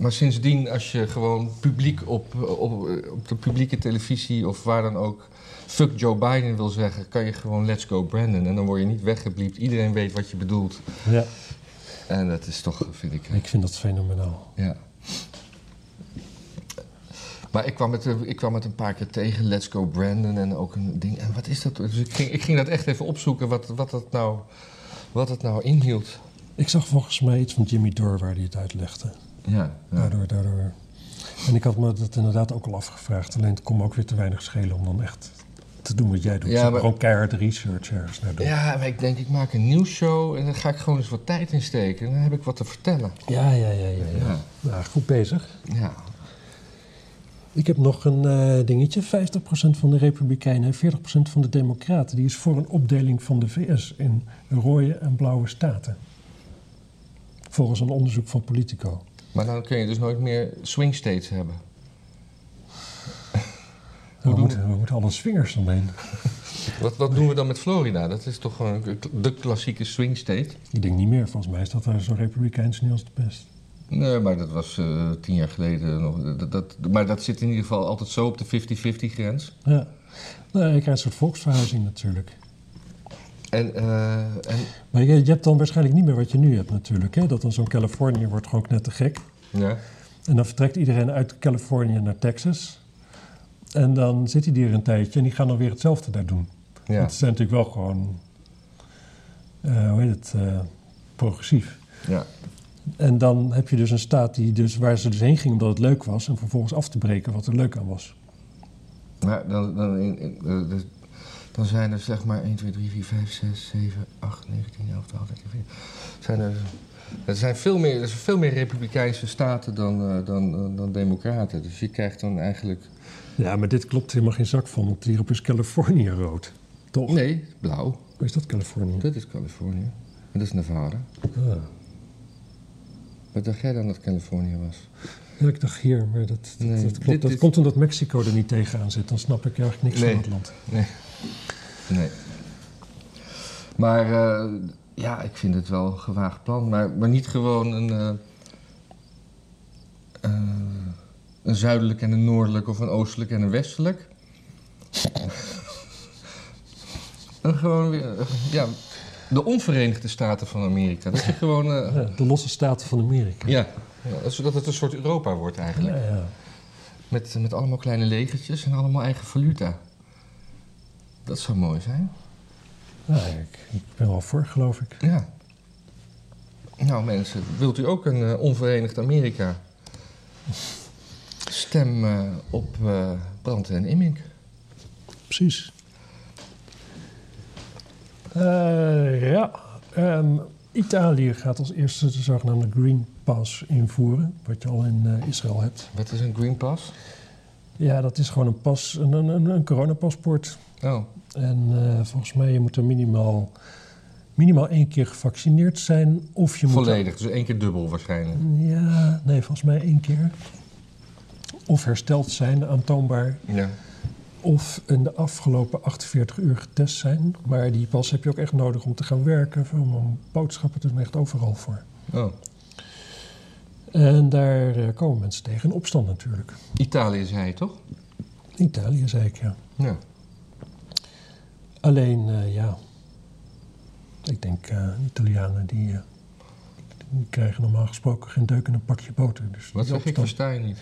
Speaker 2: maar sindsdien, als je gewoon publiek op, op, op de publieke televisie of waar dan ook fuck Joe Biden wil zeggen, kan je gewoon let's go Brandon. En dan word je niet weggebliept. Iedereen weet wat je bedoelt.
Speaker 1: ja.
Speaker 2: En dat is toch, vind ik. eh,
Speaker 1: Ik vind dat fenomenaal.
Speaker 2: Ja. Maar ik kwam, het, eh, ik kwam het een paar keer tegen, Let's Go Brandon en ook een ding. En wat is dat? Dus ik ging, ik ging dat echt even opzoeken, wat, wat, dat nou, wat dat nou inhield.
Speaker 1: Ik zag volgens mij iets van Jimmy Dore waar hij het uitlegde.
Speaker 2: Ja, ja.
Speaker 1: Daardoor, daardoor. En ik had me dat inderdaad ook al afgevraagd. Alleen het kon me ook weer te weinig schelen om dan echt te doen wat jij doet.
Speaker 2: Ja,
Speaker 1: Zo
Speaker 2: maar-
Speaker 1: Gewoon keihard research ergens naar doen.
Speaker 2: Ja, maar ik denk, ik maak een nieuwsshow en daar ga ik gewoon eens wat tijd in steken. En dan heb ik wat te vertellen.
Speaker 1: ja, ja, ja. ja, ja.
Speaker 2: Ja.
Speaker 1: Nou, goed bezig.
Speaker 2: Ja,
Speaker 1: Ik heb nog een eh, dingetje. 50% van de Republikeinen en 40% van de Democraten... die is voor een opdeling van de VS in rode en blauwe staten. Volgens een onderzoek van Politico.
Speaker 2: maar dan kun je dus nooit meer swing states hebben.
Speaker 1: We
Speaker 2: doen
Speaker 1: moeten, we moeten alle swingers dan heen.
Speaker 2: Wat, wat doen we dan met Florida? Dat is toch gewoon de klassieke swing state?
Speaker 1: Ik denk niet meer. Volgens mij is dat daar zo republikeins niet als het best.
Speaker 2: Nee, maar dat was eh, tien jaar geleden nog. Dat, dat, maar dat zit in ieder geval altijd zo op de 50-50 grens.
Speaker 1: Ja. Nou, je krijgt een soort volksverhuizing natuurlijk.
Speaker 2: En, eh, en
Speaker 1: Maar je, je hebt dan waarschijnlijk niet meer wat je nu hebt natuurlijk. Hè? Dat dan zo'n Californië wordt gewoon net te gek.
Speaker 2: ja.
Speaker 1: En dan vertrekt iedereen uit Californië naar Texas. En dan zit hij hier een tijdje en die gaan dan weer hetzelfde daar doen.
Speaker 2: Ja.
Speaker 1: Want ze zijn natuurlijk wel gewoon, eh, hoe heet het, eh, progressief.
Speaker 2: ja.
Speaker 1: En dan heb je dus een staat die dus, waar ze dus heen ging omdat het leuk was... en vervolgens af te breken wat er leuk aan was.
Speaker 2: Maar dan, dan, in, in- eh, dus- dan zijn er zeg maar 1, 2, 3, 4, 5, 6, 7, 8, 9, 10, 11, 12, 13, 14. Zijn er, er zijn veel meer, er zijn veel meer republikeinse staten dan, eh, dan, dan, dan democraten. Dus je krijgt dan eigenlijk...
Speaker 1: Ja, maar dit klopt helemaal geen zak van, want hierop is Californië rood. Toch?
Speaker 2: Nee, blauw.
Speaker 1: Is dat Californië?
Speaker 2: Dat is Californië. En dat is Nevada.
Speaker 1: Ah.
Speaker 2: Wat dacht jij dan dat Californië was?
Speaker 1: Ja, ik dacht hier, maar dat, dat,
Speaker 2: Nee,
Speaker 1: dat klopt.
Speaker 2: dit
Speaker 1: dat
Speaker 2: is-
Speaker 1: komt omdat Mexico er niet tegenaan zit. Dan snap ik eigenlijk niks
Speaker 2: Nee.
Speaker 1: van het land.
Speaker 2: Nee. Nee. Maar eh, ja, ik vind het wel een gewaagd plan. Maar, maar niet gewoon een, eh, eh, een zuidelijk en een noordelijk of een oostelijk en een westelijk. (laughs) En gewoon weer, eh, ja, de onverenigde staten van Amerika. Dat je gewoon, eh,
Speaker 1: Ja, de losse staten van Amerika.
Speaker 2: ja, ja, zodat het een soort Europa wordt eigenlijk.
Speaker 1: Ja, ja.
Speaker 2: Met, met allemaal kleine legertjes en allemaal eigen valuta. Dat zou mooi zijn.
Speaker 1: Ja, ik, ik ben wel voor, geloof ik.
Speaker 2: Ja. Nou mensen, wilt u ook een eh, onverenigd Amerika? Stem eh, op eh Brandt en Immink.
Speaker 1: Precies. Eh, ja, Ehm, Italië gaat als eerste de zogenaamde Green Pass invoeren. Wat je al in eh, Israël hebt.
Speaker 2: Wat is een Green Pass?
Speaker 1: Ja, dat is gewoon een, pas, een, een, een- een coronapaspoort.
Speaker 2: Oh,
Speaker 1: En eh, volgens mij je moet er minimaal, minimaal één keer gevaccineerd zijn. Of je moet
Speaker 2: volledig. Dus één keer dubbel waarschijnlijk.
Speaker 1: Ja, nee, volgens mij één keer. Of hersteld zijn, aantoonbaar.
Speaker 2: Ja.
Speaker 1: Of in de afgelopen 48 uur getest zijn. Maar die pas heb je ook echt nodig om te gaan werken. Om om boodschappen te doen, echt overal voor.
Speaker 2: Oh.
Speaker 1: En daar eh, komen mensen tegen. In opstand natuurlijk.
Speaker 2: Italië zei je toch?
Speaker 1: Italië, zei ik, ja.
Speaker 2: Ja.
Speaker 1: Alleen, eh, ja... Ik denk, eh, Italianen die, eh, die krijgen normaal gesproken geen deuk in een pakje boter. Dus
Speaker 2: Wat
Speaker 1: die
Speaker 2: zeg
Speaker 1: opstand-
Speaker 2: ik? Versta je niet.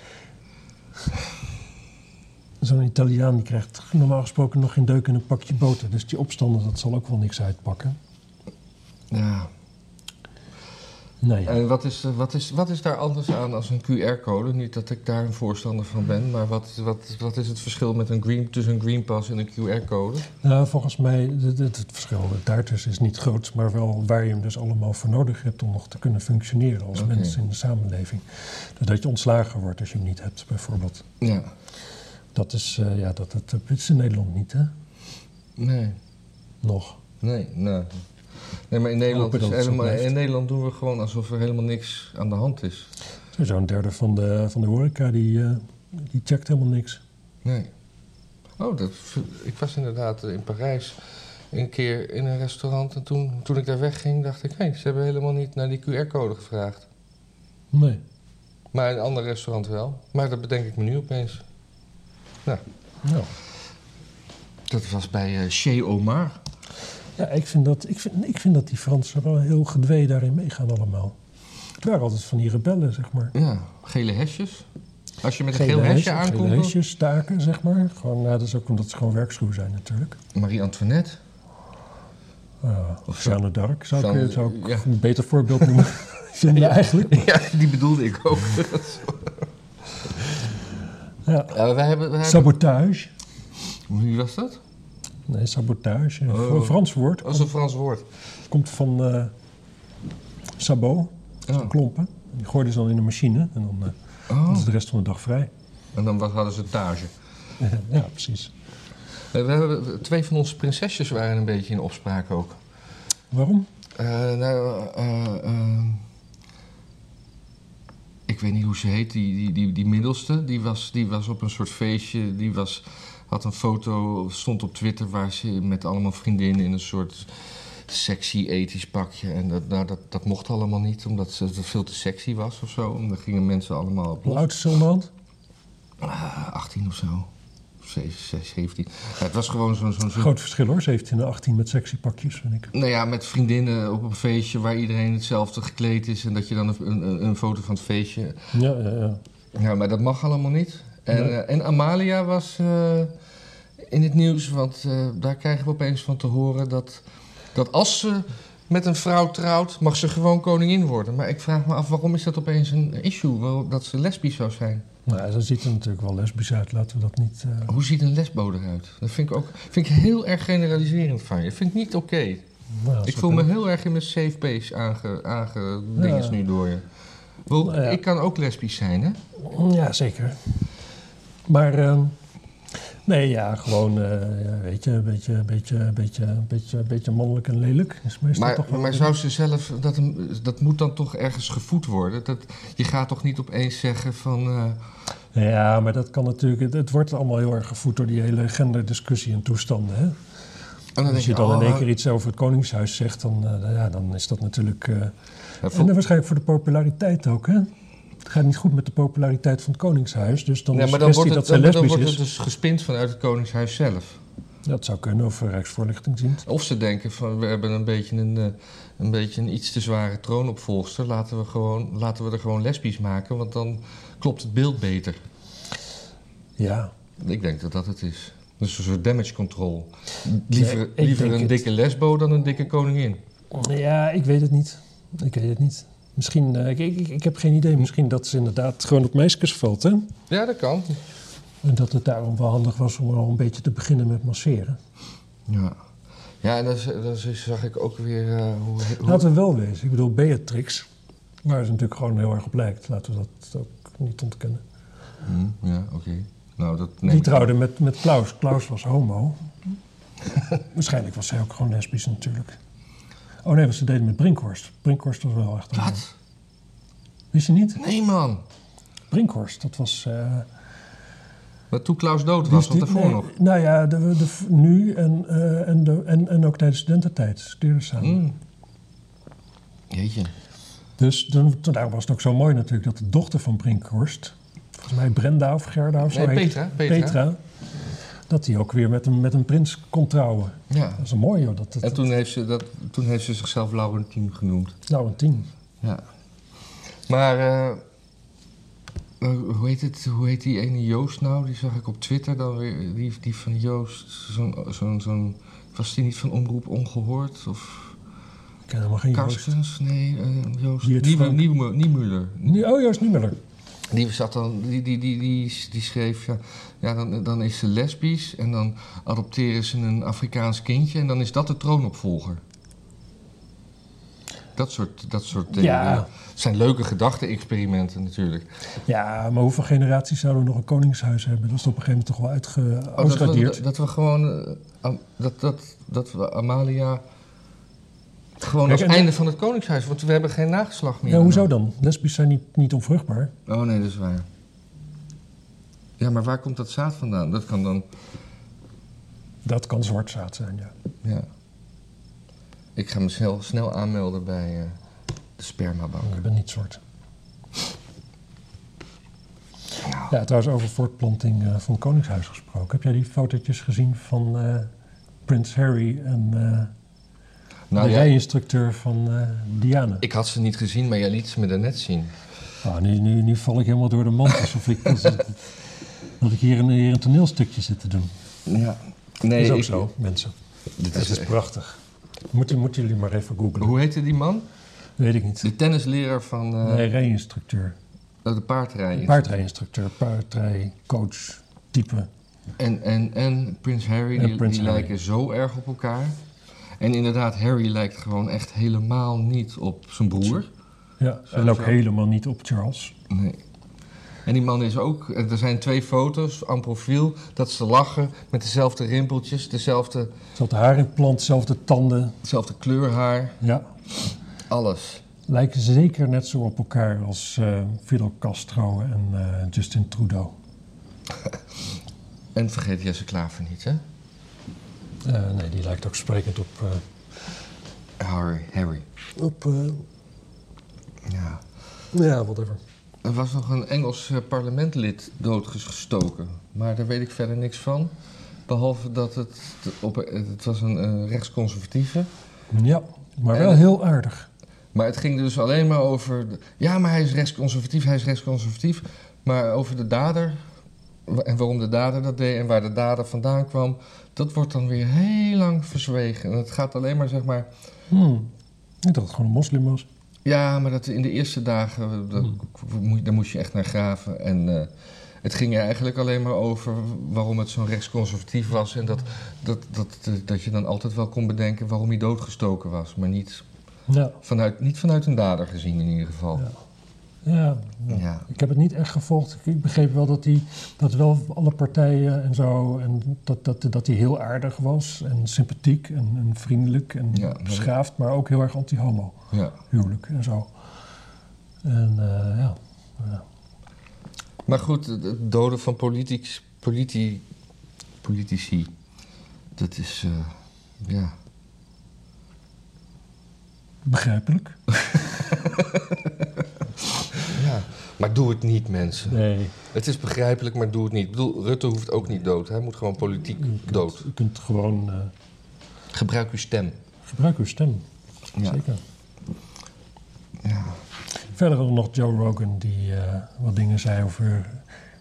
Speaker 1: Zo'n Italiaan die krijgt normaal gesproken nog geen deuk in een pakje boter. Dus die opstanden, dat zal ook wel niks uitpakken.
Speaker 2: Ja.
Speaker 1: Nee, Nou ja.
Speaker 2: En wat is, eh, wat, is, wat is daar anders aan als een QR-code? Niet dat ik daar een voorstander van ben, maar wat, wat, wat is het verschil met een green, tussen een Green Pass en een QR-code?
Speaker 1: Nou, volgens mij, het, het, het verschil daartussen is niet groot, maar wel waar je hem dus allemaal voor nodig hebt om nog te kunnen functioneren als
Speaker 2: Oké.
Speaker 1: mens in de samenleving. Dus dat je ontslagen wordt als je hem niet hebt, bijvoorbeeld.
Speaker 2: Ja.
Speaker 1: Dat is, eh, ja, dat, dat, dat is in Nederland niet, hè?
Speaker 2: Nee.
Speaker 1: Nog.
Speaker 2: Nee, nee. Nee, maar in Nederland,
Speaker 1: Hopen
Speaker 2: is
Speaker 1: dat het zo
Speaker 2: helemaal,
Speaker 1: blijft.
Speaker 2: in Nederland doen we gewoon alsof er helemaal niks aan de hand is.
Speaker 1: Sowieso een derde van de, van de horeca, die, eh, die checkt helemaal niks.
Speaker 2: Nee. Oh, dat, ik was inderdaad eh, in Parijs een keer in een restaurant. En toen, toen ik daar wegging, dacht ik... hé, ze hebben helemaal niet naar die QR-code gevraagd.
Speaker 1: Nee.
Speaker 2: Maar in een ander restaurant wel. Maar dat bedenk ik me nu opeens.
Speaker 1: Nou.
Speaker 2: Dat was bij eh Che Omar.
Speaker 1: Ja, ik vind, dat, ik, vind, ik vind dat die Fransen wel heel gedwee daarin meegaan allemaal. Het waren altijd van die rebellen, zeg maar.
Speaker 2: Ja, gele hesjes. Als je met een
Speaker 1: Gele
Speaker 2: geel hesje
Speaker 1: hesjes- gele
Speaker 2: aankomt... dan-
Speaker 1: hesjes staken, zeg maar. Gewoon, nou, dat is ook omdat ze gewoon werkschuw zijn natuurlijk.
Speaker 2: Marie-Antoinette.
Speaker 1: Ja, of Jeanne d'Arc zou
Speaker 2: Jeanne-
Speaker 1: ik, zou ik
Speaker 2: ja.
Speaker 1: een beter voorbeeld
Speaker 2: (laughs)
Speaker 1: noemen (laughs) vinden eigenlijk.
Speaker 2: (laughs) Ja, die bedoelde ik ook. (laughs)
Speaker 1: Ja.
Speaker 2: Eh, wij hebben, wij hebben...
Speaker 1: Sabotage.
Speaker 2: Wie was dat?
Speaker 1: Nee, sabotage.
Speaker 2: Oh.
Speaker 1: Een Frans woord.
Speaker 2: Dat is een Frans woord.
Speaker 1: Komt van eh, sabot,
Speaker 2: Ja.
Speaker 1: klompen. Die gooiden ze dan in de machine en dan eh,
Speaker 2: Oh.
Speaker 1: hadden ze de rest van de dag vrij.
Speaker 2: En dan wat hadden ze tage.
Speaker 1: (laughs) ja, precies.
Speaker 2: Eh, We hebben, twee van onze prinsesjes waren een beetje in opspraak ook.
Speaker 1: Waarom?
Speaker 2: Eh, nou, eh, eh, ik weet niet hoe ze heet, die, die, die, die middelste. Die was, die was op een soort feestje. Die was, had een foto, stond op Twitter waar ze met allemaal vriendinnen in een soort sexy ethisch pakje. En dat, nou, dat, dat mocht allemaal niet, omdat ze dat veel te sexy was of zo. En daar gingen mensen allemaal op
Speaker 1: Hoe
Speaker 2: los.
Speaker 1: oud is ze onderhand?
Speaker 2: Ah, 18 of zo. Of 7, 17. Ja, het was gewoon zo'n zo'n zo'n-
Speaker 1: Groot verschil hoor, 17 en 18 met sexy pakjes, vind ik.
Speaker 2: Nou ja, met vriendinnen op een feestje waar iedereen hetzelfde gekleed is. En dat je dan een, een, een foto van het feestje.
Speaker 1: Ja, ja, ja.
Speaker 2: Ja, maar dat mag allemaal niet. En,
Speaker 1: Nee.
Speaker 2: eh, en Amalia was eh, in het nieuws, want eh, daar krijgen we opeens van te horen dat, dat als ze met een vrouw trouwt, mag ze gewoon koningin worden. Maar ik vraag me af, waarom is dat opeens een issue? Waarom- dat ze lesbisch zou zijn.
Speaker 1: Nou, ze ziet er natuurlijk wel lesbisch uit, laten we dat niet... eh,
Speaker 2: Hoe ziet een lesbode eruit? Dat vind ik ook vind ik heel erg generaliserend van je. Dat vind ik niet oké.
Speaker 1: nou,
Speaker 2: Ik
Speaker 1: soort-
Speaker 2: voel me heel erg in mijn safe base aange, aange dinges
Speaker 1: Ja.
Speaker 2: nu door je. Ik bedoel,
Speaker 1: Nou ja.
Speaker 2: Ik kan ook lesbisch zijn, hè?
Speaker 1: Ja, zeker. Maar, ehm, nee, ja, gewoon, eh, ja, weet je, een beetje, een beetje, een beetje, een beetje, een beetje mannelijk en lelijk is meestal
Speaker 2: Maar,
Speaker 1: toch wel...
Speaker 2: maar zou ze zelf, dat, dat moet dan toch ergens gevoed worden? Dat, je gaat toch niet opeens zeggen van. eh,
Speaker 1: Ja, maar dat kan natuurlijk, het, het wordt allemaal heel erg gevoed door die hele genderdiscussie en toestanden, hè.
Speaker 2: en dan
Speaker 1: Als je dan
Speaker 2: oh,
Speaker 1: in één keer iets over het Koningshuis zegt, dan, eh, ja, dan is dat natuurlijk... eh,
Speaker 2: ja,
Speaker 1: En
Speaker 2: vol-
Speaker 1: dan waarschijnlijk voor de populariteit ook, hè? Het gaat niet goed met de populariteit van het Koningshuis. Dus dan
Speaker 2: Ja,
Speaker 1: is
Speaker 2: maar
Speaker 1: de
Speaker 2: dan
Speaker 1: kwestie
Speaker 2: wordt, het,
Speaker 1: dat zij
Speaker 2: dan- dan
Speaker 1: lesbisch
Speaker 2: wordt dus-
Speaker 1: is.
Speaker 2: het dus gespind vanuit het Koningshuis zelf.
Speaker 1: Dat zou kunnen, of eh, Rijksvoorlichtingsdienst.
Speaker 2: Of ze denken van we hebben een beetje een, eh, een, beetje een iets te zware troonopvolgster. Laten we, gewoon, laten we er gewoon lesbisch maken, want dan klopt het beeld beter.
Speaker 1: Ja.
Speaker 2: Ik denk dat dat het is. Dus een soort damage control. Liever,
Speaker 1: Nee, ik
Speaker 2: liever
Speaker 1: denk
Speaker 2: een
Speaker 1: het.
Speaker 2: dikke lesbo dan een dikke koningin.
Speaker 1: ja, ik weet het niet. Ik weet het niet. Misschien, eh, ik, ik, ik heb geen idee, misschien dat ze inderdaad gewoon op meisjes valt, hè?
Speaker 2: Ja, dat kan.
Speaker 1: En dat het daarom wel handig was om al een beetje te beginnen met masseren.
Speaker 2: Ja. Ja, en dan, z- dan z- zag ik ook weer eh, hoe... hoe-
Speaker 1: Laten we wel wezen. Ik bedoel, Beatrix, waar ze natuurlijk gewoon heel erg op lijkt. Laten we dat ook niet ontkennen.
Speaker 2: Hm, ja, oké. Nou, dat neem
Speaker 1: Die
Speaker 2: ik-
Speaker 1: trouwde met, met Klaus. Klaus was homo. (laughs) Waarschijnlijk was zij ook gewoon lesbisch natuurlijk. Oh nee, want ze deden met Brinkhorst. Brinkhorst was wel echt... een man.
Speaker 2: Wat?
Speaker 1: Wist je niet?
Speaker 2: Nee, man.
Speaker 1: Brinkhorst, dat was... eh,
Speaker 2: Maar toen Klaus dood
Speaker 1: die
Speaker 2: was,
Speaker 1: is
Speaker 2: want
Speaker 1: Dus die-
Speaker 2: daarvoor
Speaker 1: nee,
Speaker 2: nog.
Speaker 1: Nou ja, de, de, nu en, eh, en, de, en, en ook tijdens studententijd studeerden ze samen.
Speaker 2: Hm. Jeetje.
Speaker 1: Dus toen, toen- daarom was het ook zo mooi natuurlijk dat de dochter van Brinkhorst... Volgens mij Brenda of Gerda of zo
Speaker 2: Nee,
Speaker 1: heet-
Speaker 2: Petra, Petra.
Speaker 1: dat die ook weer met een, met een prins kon trouwen.
Speaker 2: Ja.
Speaker 1: Dat is mooi hoor. Dat, dat,
Speaker 2: En toen heeft ze, dat, toen heeft ze zichzelf Laurentien genoemd.
Speaker 1: Nou, een tien.
Speaker 2: Ja. Maar, eh, eh, hoe heet het? Hoe heet die ene Joost nou? Die zag ik op Twitter dan weer. Die, die van Joost. Zo'n, zo'n, zo'n, was die niet van Omroep Ongehoord? Of
Speaker 1: Ik ken helemaal geen Joost.
Speaker 2: Karstens? Nee, eh, Joost.
Speaker 1: Geert
Speaker 2: Nieuwe-
Speaker 1: Frank.
Speaker 2: Nieuwe- Niemuller.
Speaker 1: Nee, Oh, Joost Niemuller.
Speaker 2: Die zat dan, die, die, die, die, die schreef, ja, ja dan, dan is ze lesbisch en dan adopteren ze een Afrikaans kindje en dan is dat de troonopvolger. Dat soort, dat soort theorieën.
Speaker 1: Ja.
Speaker 2: Het zijn leuke gedachte-experimenten natuurlijk.
Speaker 1: Ja, maar hoeveel generaties zouden we nog een koningshuis hebben? Dat is op een gegeven moment toch wel
Speaker 2: Oh, dat, we,
Speaker 1: uitgeradeerd.
Speaker 2: dat- dat we gewoon, eh, am- dat, dat, dat we Amalia gewoon
Speaker 1: Kijk,
Speaker 2: als
Speaker 1: en-
Speaker 2: einde van het koningshuis, want we hebben geen nageslag meer.
Speaker 1: ja, hoezo dan? Lesbisch zijn niet, niet onvruchtbaar.
Speaker 2: Oh nee, dat is waar. Ja, maar waar komt dat zaad vandaan? Dat kan dan
Speaker 1: Dat kan zwartzaad zijn, ja.
Speaker 2: Ja. Ik ga me snel, snel aanmelden bij eh, de spermabank.
Speaker 1: Ik ben niet zwart.
Speaker 2: Nou.
Speaker 1: Ja, trouwens over voortplanting eh, van koningshuis gesproken. Heb jij die fotootjes gezien van eh, Prins Harry en eh,
Speaker 2: Nou
Speaker 1: de
Speaker 2: ja,
Speaker 1: rijinstructeur van eh Diana?
Speaker 2: ik had ze niet gezien, maar jij liet ze me daarnet zien.
Speaker 1: Nou, nu, nu, nu val ik helemaal door de mand alsof
Speaker 2: (laughs)
Speaker 1: ik, dat ik hier, een, hier een toneelstukje zit te doen.
Speaker 2: Ja.
Speaker 1: Dat
Speaker 2: Nee,
Speaker 1: is ook
Speaker 2: ik-
Speaker 1: zo, mensen.
Speaker 2: Dit
Speaker 1: Het
Speaker 2: is,
Speaker 1: is prachtig. Moeten, moeten jullie maar even googlen.
Speaker 2: hoe heette die man?
Speaker 1: Weet ik niet.
Speaker 2: De tennisleraar van eh,
Speaker 1: Nee, rijinstructeur.
Speaker 2: de paardrijden.
Speaker 1: Paardrijinstructeur, paardrijcoach, type.
Speaker 2: En, en, en Prins Harry,
Speaker 1: En
Speaker 2: die,
Speaker 1: Prins
Speaker 2: die
Speaker 1: Harry.
Speaker 2: lijken zo erg op elkaar. En inderdaad, Harry lijkt gewoon echt helemaal niet op zijn broer.
Speaker 1: Ja, en ook helemaal niet op Charles.
Speaker 2: Nee. En die man is ook, eh, er zijn twee foto's aan profiel, dat ze lachen met dezelfde rimpeltjes, dezelfde,
Speaker 1: Hetzelfde haarimplant, dezelfde tanden.
Speaker 2: dezelfde kleur haar,
Speaker 1: Ja,
Speaker 2: alles.
Speaker 1: lijken zeker net zo op elkaar als eh, Fidel Castro en eh, Justin Trudeau.
Speaker 2: En vergeet Jesse Klaver niet, hè?
Speaker 1: Eh, nee, die lijkt ook sprekend op, eh,
Speaker 2: Harry, Harry.
Speaker 1: op eh,
Speaker 2: Ja.
Speaker 1: ja, whatever.
Speaker 2: Er was nog een Engels eh, parlementlid doodgestoken, maar daar weet ik verder niks van. Behalve dat het, op, het was een eh, rechtsconservatieve.
Speaker 1: Ja, maar wel
Speaker 2: En-
Speaker 1: heel aardig.
Speaker 2: Maar het ging dus alleen maar over. de- ja, maar hij is rechtsconservatief, hij is rechtsconservatief. Maar over de dader. wa- En waarom de dader dat deed en waar de dader vandaan kwam. Dat wordt dan weer heel lang verzwegen. En het gaat alleen maar, zeg maar.
Speaker 1: Hmm. Ik dacht dat het gewoon een moslim was.
Speaker 2: Ja, maar dat in de eerste dagen. eh, dat- moe- daar moest je echt naar graven. En. eh, het ging er eigenlijk alleen maar over waarom het zo'n rechtsconservatief was. En dat, dat, dat, dat, dat je dan altijd wel kon bedenken waarom hij doodgestoken was. Maar niet
Speaker 1: Ja,
Speaker 2: vanuit, niet vanuit een dader gezien, in ieder geval.
Speaker 1: Ja. ja. ja.
Speaker 2: ja.
Speaker 1: Ik heb het niet echt gevolgd. Ik- Ik begreep wel dat hij dat wel alle partijen en zo. En dat, dat, dat hij heel aardig was. En sympathiek en, en vriendelijk en
Speaker 2: Ja, maar-
Speaker 1: beschaafd. Maar ook heel erg anti-homo.
Speaker 2: ja.
Speaker 1: Huwelijk en zo. En eh, ja. ja.
Speaker 2: Maar goed, het- het doden van politics, politi, politici, dat is, eh, ja,
Speaker 1: Begrijpelijk.
Speaker 2: ja. Maar doe het niet, mensen.
Speaker 1: Nee.
Speaker 2: Het is begrijpelijk, maar doe het niet. Ik bedoel, Rutte hoeft ook niet dood. Hij moet gewoon politiek dood.
Speaker 1: Je kunt gewoon. eh,
Speaker 2: Gebruik uw stem.
Speaker 1: gebruik uw stem.
Speaker 2: Ja.
Speaker 1: Zeker.
Speaker 2: Ja.
Speaker 1: Verder hadden we nog Joe Rogan die eh, wat dingen zei over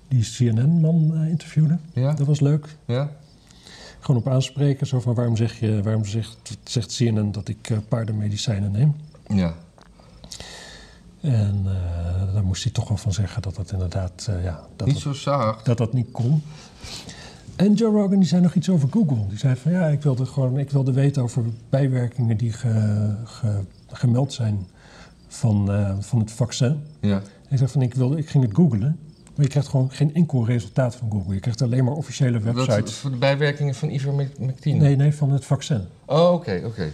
Speaker 1: die CNN-man eh, interviewde.
Speaker 2: Ja?
Speaker 1: Dat was leuk.
Speaker 2: Ja?
Speaker 1: Gewoon op aanspreken, zo van waarom, zeg je, waarom zegt, zegt CNN dat ik eh, paardenmedicijnen neem?
Speaker 2: Ja.
Speaker 1: En eh, daar moest hij toch wel van zeggen dat dat inderdaad, eh, ja, dat
Speaker 2: Niet
Speaker 1: dat,
Speaker 2: zo zacht.
Speaker 1: dat dat niet kon. En Joe Rogan die zei nog iets over Google. Die zei van ja, ik wilde, gewoon, ik wilde weten over bijwerkingen die ge- ge- gemeld zijn van, eh, van het vaccin.
Speaker 2: Ja.
Speaker 1: Ik dacht van, ik, wilde, ik ging het googlen. Maar je krijgt gewoon geen enkel resultaat van Google. Je krijgt alleen maar officiële
Speaker 2: Dat
Speaker 1: websites.
Speaker 2: voor de bijwerkingen van ivermectine?
Speaker 1: Nee, nee, van het vaccin.
Speaker 2: Oh, oké, oké.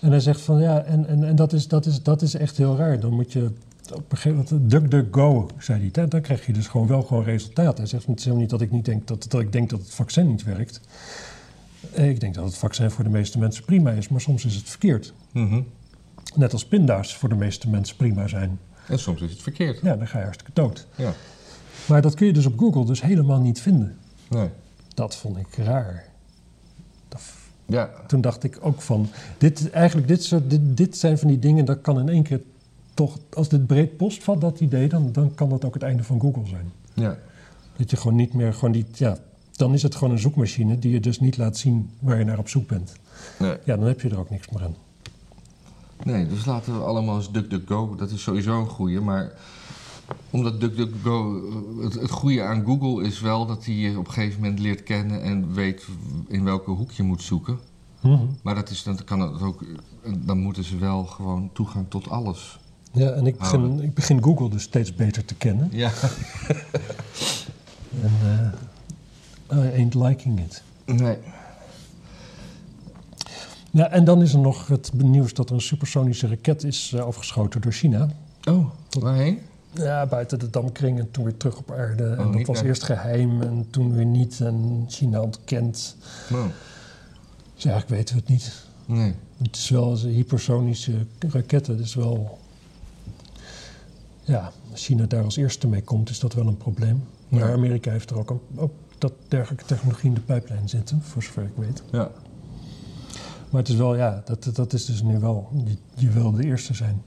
Speaker 1: En hij zegt van, ja, en, en, en dat, is, dat, is, dat is echt heel raar. Dan moet je op een gegeven moment, DuckDuckGo, zei hij. Dan, dan krijg je dus gewoon wel gewoon resultaat. Hij zegt, het is helemaal niet dat ik, niet denk, dat, dat ik denk dat het vaccin niet werkt. Eh, Ik denk dat het vaccin voor de meeste mensen prima is, maar soms is het verkeerd.
Speaker 2: Mhm.
Speaker 1: Net als pinda's voor de meeste mensen prima zijn.
Speaker 2: En soms is het verkeerd.
Speaker 1: Ja, dan ga je hartstikke dood.
Speaker 2: Ja.
Speaker 1: Maar dat kun je dus op Google dus helemaal niet vinden.
Speaker 2: Nee.
Speaker 1: Dat vond ik raar. Dat-
Speaker 2: Ja.
Speaker 1: Toen dacht ik ook van, dit, eigenlijk dit, soort, dit, dit zijn van die dingen, dat kan in één keer toch, als dit breed postvat dat idee, dan, dan kan dat ook het einde van Google zijn.
Speaker 2: Ja.
Speaker 1: Dat je gewoon niet meer, gewoon die, ja, dan is het gewoon een zoekmachine die je dus niet laat zien waar je naar op zoek bent.
Speaker 2: Nee.
Speaker 1: Ja, dan heb je er ook niks meer aan.
Speaker 2: Nee, dus laten we allemaal eens DuckDuckGo, dat is sowieso een goeie, maar omdat DuckDuckGo, eh, het, het goede aan Google is wel dat hij je op een gegeven moment leert kennen en weet in welke hoek je moet zoeken. Maar dat is, dan, kan het ook, eh, dan moeten ze wel gewoon toegang tot alles.
Speaker 1: Ja, en ik begin, ik begin Google dus steeds beter te kennen.
Speaker 2: Ja.
Speaker 1: En eh I ain't liking it.
Speaker 2: Nee.
Speaker 1: Ja, en dan is er nog het nieuws dat er een supersonische raket is eh, afgeschoten door China.
Speaker 2: Oh, waarheen?
Speaker 1: Ja, buiten de damkring en toen weer terug op aarde. en dat
Speaker 2: Oh, niet
Speaker 1: was
Speaker 2: naar-
Speaker 1: eerst geheim en toen weer niet. En China ontkent.
Speaker 2: Nou,
Speaker 1: Dus eigenlijk weten we het niet.
Speaker 2: nee.
Speaker 1: Het is wel een hypersonische raketten. Dus wel... Ja, als China daar als eerste mee komt, is dat wel een probleem. Maar
Speaker 2: Ja.
Speaker 1: Amerika heeft er ook, een, ook dat dergelijke technologie in de pijplijn zitten, voor zover ik weet.
Speaker 2: Ja.
Speaker 1: Maar het is wel, ja, dat, dat is dus nu wel... Je, je wil de eerste zijn.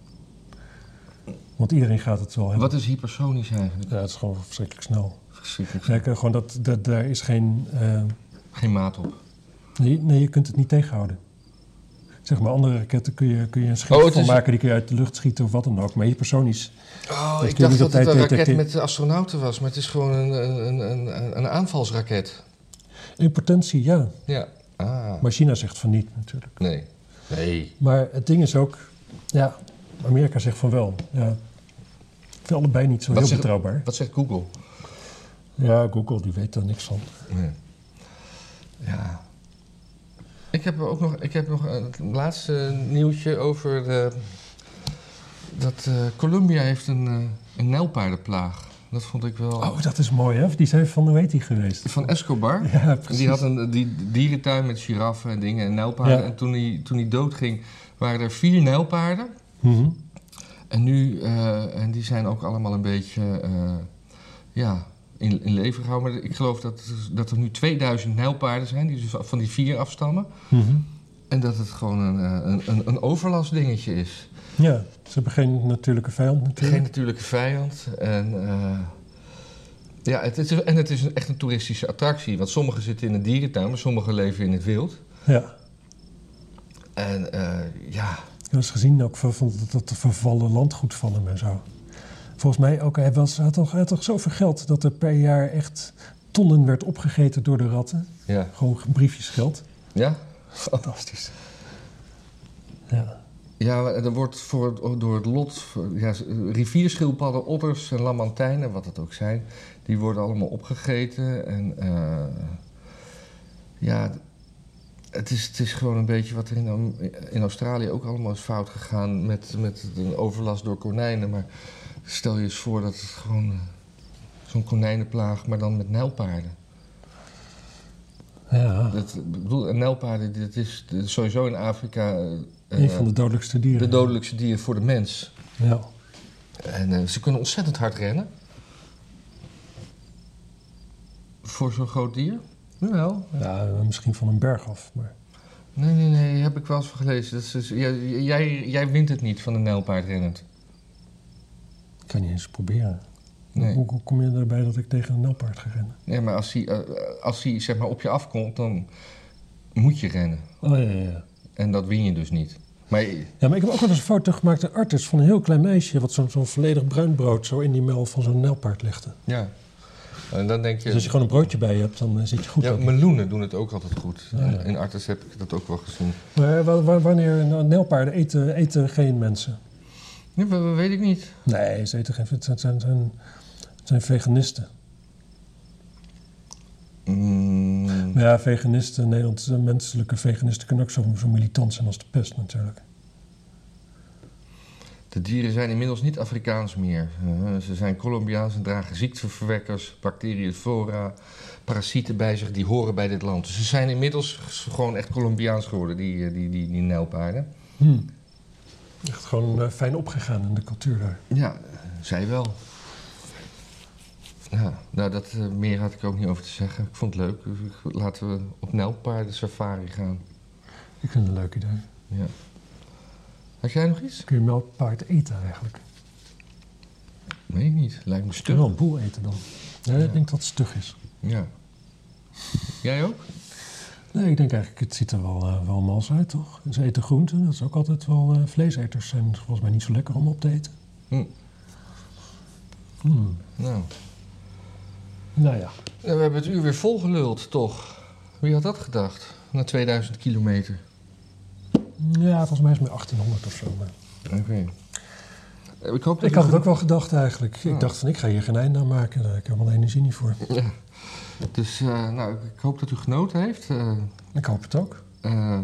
Speaker 1: Want iedereen gaat het wel hebben.
Speaker 2: Wat is hypersonisch eigenlijk?
Speaker 1: Ja, het is gewoon verschrikkelijk snel.
Speaker 2: Verschrikkelijk.
Speaker 1: Zeker, gewoon dat, dat, daar is geen... eh,
Speaker 2: Geen maat op.
Speaker 1: nee, nee, je kunt het niet tegenhouden. Zeg maar, andere raketten kun je, kun je een schip
Speaker 2: Oh, het
Speaker 1: van
Speaker 2: is-
Speaker 1: maken, die kun je uit de lucht schieten of wat dan ook. Maar hypersonisch,
Speaker 2: Oh,
Speaker 1: Dat kun je
Speaker 2: ik dacht
Speaker 1: niet
Speaker 2: dat
Speaker 1: op
Speaker 2: het
Speaker 1: tijd
Speaker 2: een raket
Speaker 1: detecteren.
Speaker 2: met astronauten was, maar het is gewoon een, een, een, een, een aanvalsraket.
Speaker 1: in potentie ja.
Speaker 2: Ja. Ah,
Speaker 1: Maar China zegt van niet natuurlijk.
Speaker 2: nee. Nee.
Speaker 1: Maar het ding is ook, ja, Amerika zegt van wel. Ja. Ik vind allebei niet zo
Speaker 2: Wat
Speaker 1: heel
Speaker 2: zegt-
Speaker 1: betrouwbaar.
Speaker 2: Wat zegt Google?
Speaker 1: Ja, Google die weet daar niks van.
Speaker 2: Ja. ja. Ik heb ook nog, ik heb nog het laatste nieuwtje over de, dat eh, Colombia heeft een, eh, een nijlpaardenplaag. Dat vond ik wel.
Speaker 1: Oh, dat is mooi hè. Die zijn van de weet die geweest. (laughs)
Speaker 2: Van Escobar.
Speaker 1: Ja,
Speaker 2: En
Speaker 1: precies.
Speaker 2: Die had een die dierentuin met giraffen en dingen en nijlpaarden.
Speaker 1: Ja.
Speaker 2: En toen hij, toen hij doodging waren er vier nijlpaarden.
Speaker 1: Mhm.
Speaker 2: En nu, eh, en die zijn ook allemaal een beetje, eh, ja, in, in leven gehouden. Maar ik geloof dat, dat er nu 2000 nijlpaarden zijn, die dus van die vier afstammen.
Speaker 1: Mhm.
Speaker 2: En dat het gewoon een, eh, een, een, een overlastdingetje is.
Speaker 1: Ja, ze hebben geen natuurlijke vijand
Speaker 2: Geen
Speaker 1: natuurlijk.
Speaker 2: natuurlijke vijand. En, eh, ja, het, is- en het is een- echt een toeristische attractie. Want sommigen zitten in een dierentuin, maar sommigen leven in het wild.
Speaker 1: Ja.
Speaker 2: En eh, ja,
Speaker 1: Ik heb eens gezien ook van, van dat, dat vervallen landgoed van hem en zo. Volgens mij ook, hij, was, had, toch, hij had toch zoveel geld dat er per jaar echt tonnen werd opgegeten door de ratten.
Speaker 2: ja,
Speaker 1: Gewoon briefjes geld.
Speaker 2: ja.
Speaker 1: Fantastisch. Ja.
Speaker 2: Ja, er wordt voor het, door het lot, voor- ja, rivierschildpadden, otters en lamantijnen, wat het ook zijn, die worden allemaal opgegeten. En eh, ja, het is, het is gewoon een beetje wat er in, Am- in Australië ook allemaal is fout gegaan met, met een overlast door konijnen. Maar stel je eens voor dat het gewoon eh, zo'n konijnenplaag, maar dan met nijlpaarden.
Speaker 1: ja.
Speaker 2: Dat, ik bedoel, en nijlpaarden, dit is dit is sowieso in Afrika eh,
Speaker 1: Een van de dodelijkste dieren.
Speaker 2: de dodelijkste dier voor de mens.
Speaker 1: Ja.
Speaker 2: En eh, ze kunnen ontzettend hard rennen. Voor zo'n groot dier? Jawel.
Speaker 1: ja, misschien van een berg af. Maar...
Speaker 2: Nee, nee, nee, heb ik wel eens van gelezen. Dat is, jij, jij, jij wint het niet van een nijlpaard rennend.
Speaker 1: Ik kan niet eens proberen.
Speaker 2: Nee.
Speaker 1: Hoe, hoe kom je erbij dat ik tegen een nijlpaard ga rennen?
Speaker 2: nee, maar als hij, eh, als hij zeg maar, op je afkomt, dan moet je rennen.
Speaker 1: Oh ja, ja.
Speaker 2: En dat win je dus niet. Maar
Speaker 1: Ja, maar ik heb ook wel eens een foto gemaakt, een artis van een heel klein meisje... wat zo'n zo'n volledig bruin brood zo in die mel van zo'n nijlpaard legde.
Speaker 2: ja, en dan denk je...
Speaker 1: Dus als je gewoon een broodje bij je hebt, dan eh, zit je goed.
Speaker 2: ja,
Speaker 1: ook.
Speaker 2: meloenen doen het ook altijd goed.
Speaker 1: Ja, ja.
Speaker 2: In Artes heb ik dat ook wel gezien.
Speaker 1: Maar eh, wa- wa- wanneer nou, nijlpaarden eten, eten geen mensen?
Speaker 2: Nee, we- we- weet ik niet.
Speaker 1: Nee, ze eten geen... Het zijn, zijn, zijn, het zijn veganisten.
Speaker 2: Mm.
Speaker 1: Maar ja, veganisten, in Nederland, eh, menselijke veganisten... kunnen ook zo, zo militant zijn als de pest natuurlijk.
Speaker 2: De dieren zijn inmiddels niet Afrikaans meer. Eh, ze zijn Colombiaans en dragen ziekteverwekkers, bacteriën, flora, parasieten bij zich die horen bij dit land. Dus ze zijn inmiddels gewoon echt Colombiaans geworden, die, eh, die, die, die nijlpaarden.
Speaker 1: Echt gewoon eh, fijn opgegaan in de cultuur daar.
Speaker 2: Ja, eh, zij wel. Ja, nou, dat, eh, meer had ik ook niet over te zeggen. Ik vond het leuk. Laten we op nijlpaarden safari gaan.
Speaker 1: Ik vind het een leuk idee.
Speaker 2: Ja. Had jij nog iets?
Speaker 1: Kun je melkpaard eten eigenlijk?
Speaker 2: Weet ik niet. Lijkt me
Speaker 1: Kun
Speaker 2: stug.
Speaker 1: je wel een boel eten dan? Ja, ik denk dat het stug is.
Speaker 2: Ja. Jij ook?
Speaker 1: Nee, ik denk eigenlijk, het ziet er wel, eh, wel mals uit, toch? Ze eten groenten, dat is ook altijd wel... eh, vleeseters zijn volgens mij niet zo lekker om op te eten.
Speaker 2: Hm.
Speaker 1: Hmm.
Speaker 2: Nou.
Speaker 1: Nou ja.
Speaker 2: Nou, we hebben het uur weer volgeluld, toch? Wie had dat gedacht? Na 2000 kilometer.
Speaker 1: Ja, volgens mij is het maar 1800 of zo. maar-
Speaker 2: Oké. Eh, Ik hoop dat
Speaker 1: Ik had
Speaker 2: u-
Speaker 1: het ook wel gedacht eigenlijk.
Speaker 2: Ja.
Speaker 1: Ik dacht van, ik ga hier geen einde aan maken. Daar heb ik helemaal de energie niet voor.
Speaker 2: Ja. Dus eh, nou, ik hoop dat u genoten heeft. Eh,
Speaker 1: Ik hoop het ook.
Speaker 2: eh,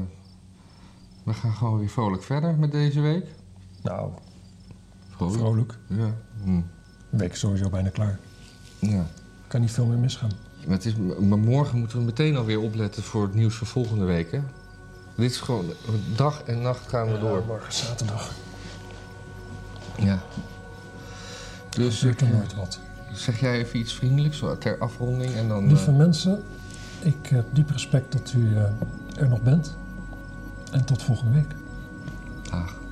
Speaker 2: we gaan gewoon weer vrolijk verder met deze week.
Speaker 1: Nou, vrolijk.
Speaker 2: Ja. Hm.
Speaker 1: De week is sowieso bijna klaar.
Speaker 2: ja.
Speaker 1: Kan niet veel meer misgaan.
Speaker 2: Maar, het is, maar morgen moeten we meteen alweer opletten voor het nieuws van volgende week. Hè? Dit is gewoon dag en nacht gaan we door.
Speaker 1: Ja, morgen is zaterdag.
Speaker 2: Ja. Dus
Speaker 1: Dus ik
Speaker 2: ik,
Speaker 1: er
Speaker 2: eh,
Speaker 1: nooit wat.
Speaker 2: zeg jij even iets vriendelijks zo ter afronding en dan. eh,
Speaker 1: Lieve mensen, ik heb diep eh, respect dat u eh, er nog bent. En tot volgende week.
Speaker 2: Dag.